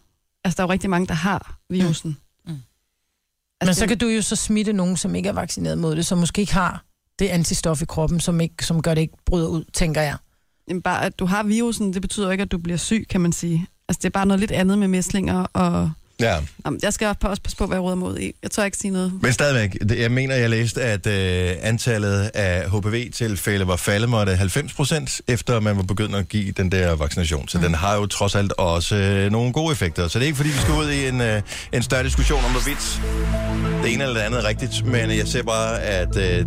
[SPEAKER 6] Altså, der er jo rigtig mange, der har virusen. Mm.
[SPEAKER 4] Men
[SPEAKER 6] Altså,
[SPEAKER 4] så
[SPEAKER 6] det-
[SPEAKER 4] kan du jo så smitte nogen, som ikke er vaccineret mod det, som måske ikke har det antistof i kroppen, som, ikke, som gør det ikke bryder ud, tænker jeg.
[SPEAKER 6] Jamen, bare, at du har virusen, det betyder ikke, at du bliver syg, kan man sige. Altså, det er bare noget lidt andet med mæslinger og
[SPEAKER 3] Ja.
[SPEAKER 6] Jamen, jeg skal også passe på, hvad jeg råder mod i. Jeg tør ikke sige noget.
[SPEAKER 3] Men stadigvæk, det- jeg mener, jeg læste, at øh, antallet af HPV-tilfælde var faldet med det 90 procent, efter man var begyndt at give den der vaccination. Så mm. den har jo trods alt også øh, nogle gode effekter. Så det er ikke, fordi vi skal ud i en, øh, en større diskussion om, hvorvidt det ene eller det andet er rigtigt. Men jeg ser bare, at øh,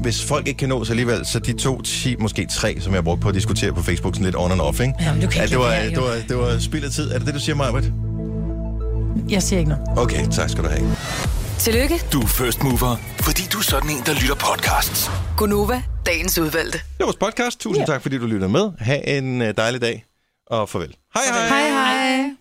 [SPEAKER 3] hvis folk ikke kan nås alligevel, så de to, ti, måske tre, som jeg brugte på at diskutere på Facebook, sådan lidt on and off, ikke?
[SPEAKER 5] Jamen, du kan
[SPEAKER 3] at
[SPEAKER 5] ikke
[SPEAKER 3] det, var,
[SPEAKER 5] lade være,
[SPEAKER 3] det,
[SPEAKER 5] jo.
[SPEAKER 3] var, det var spild af tid. Er det det, du siger, Majbert?
[SPEAKER 4] Jeg siger ikke noget.
[SPEAKER 3] Okay, tak skal du have.
[SPEAKER 1] Tillykke,
[SPEAKER 2] Du er first mover, fordi du er sådan en, der lytter podcasts.
[SPEAKER 1] Gunova, dagens udvalgte.
[SPEAKER 3] Det var vores podcast. Tusind ja. tak, fordi du lytter med. Ha' en øh, dejlig dag, og farvel. Hej hej!
[SPEAKER 6] Hej, hej.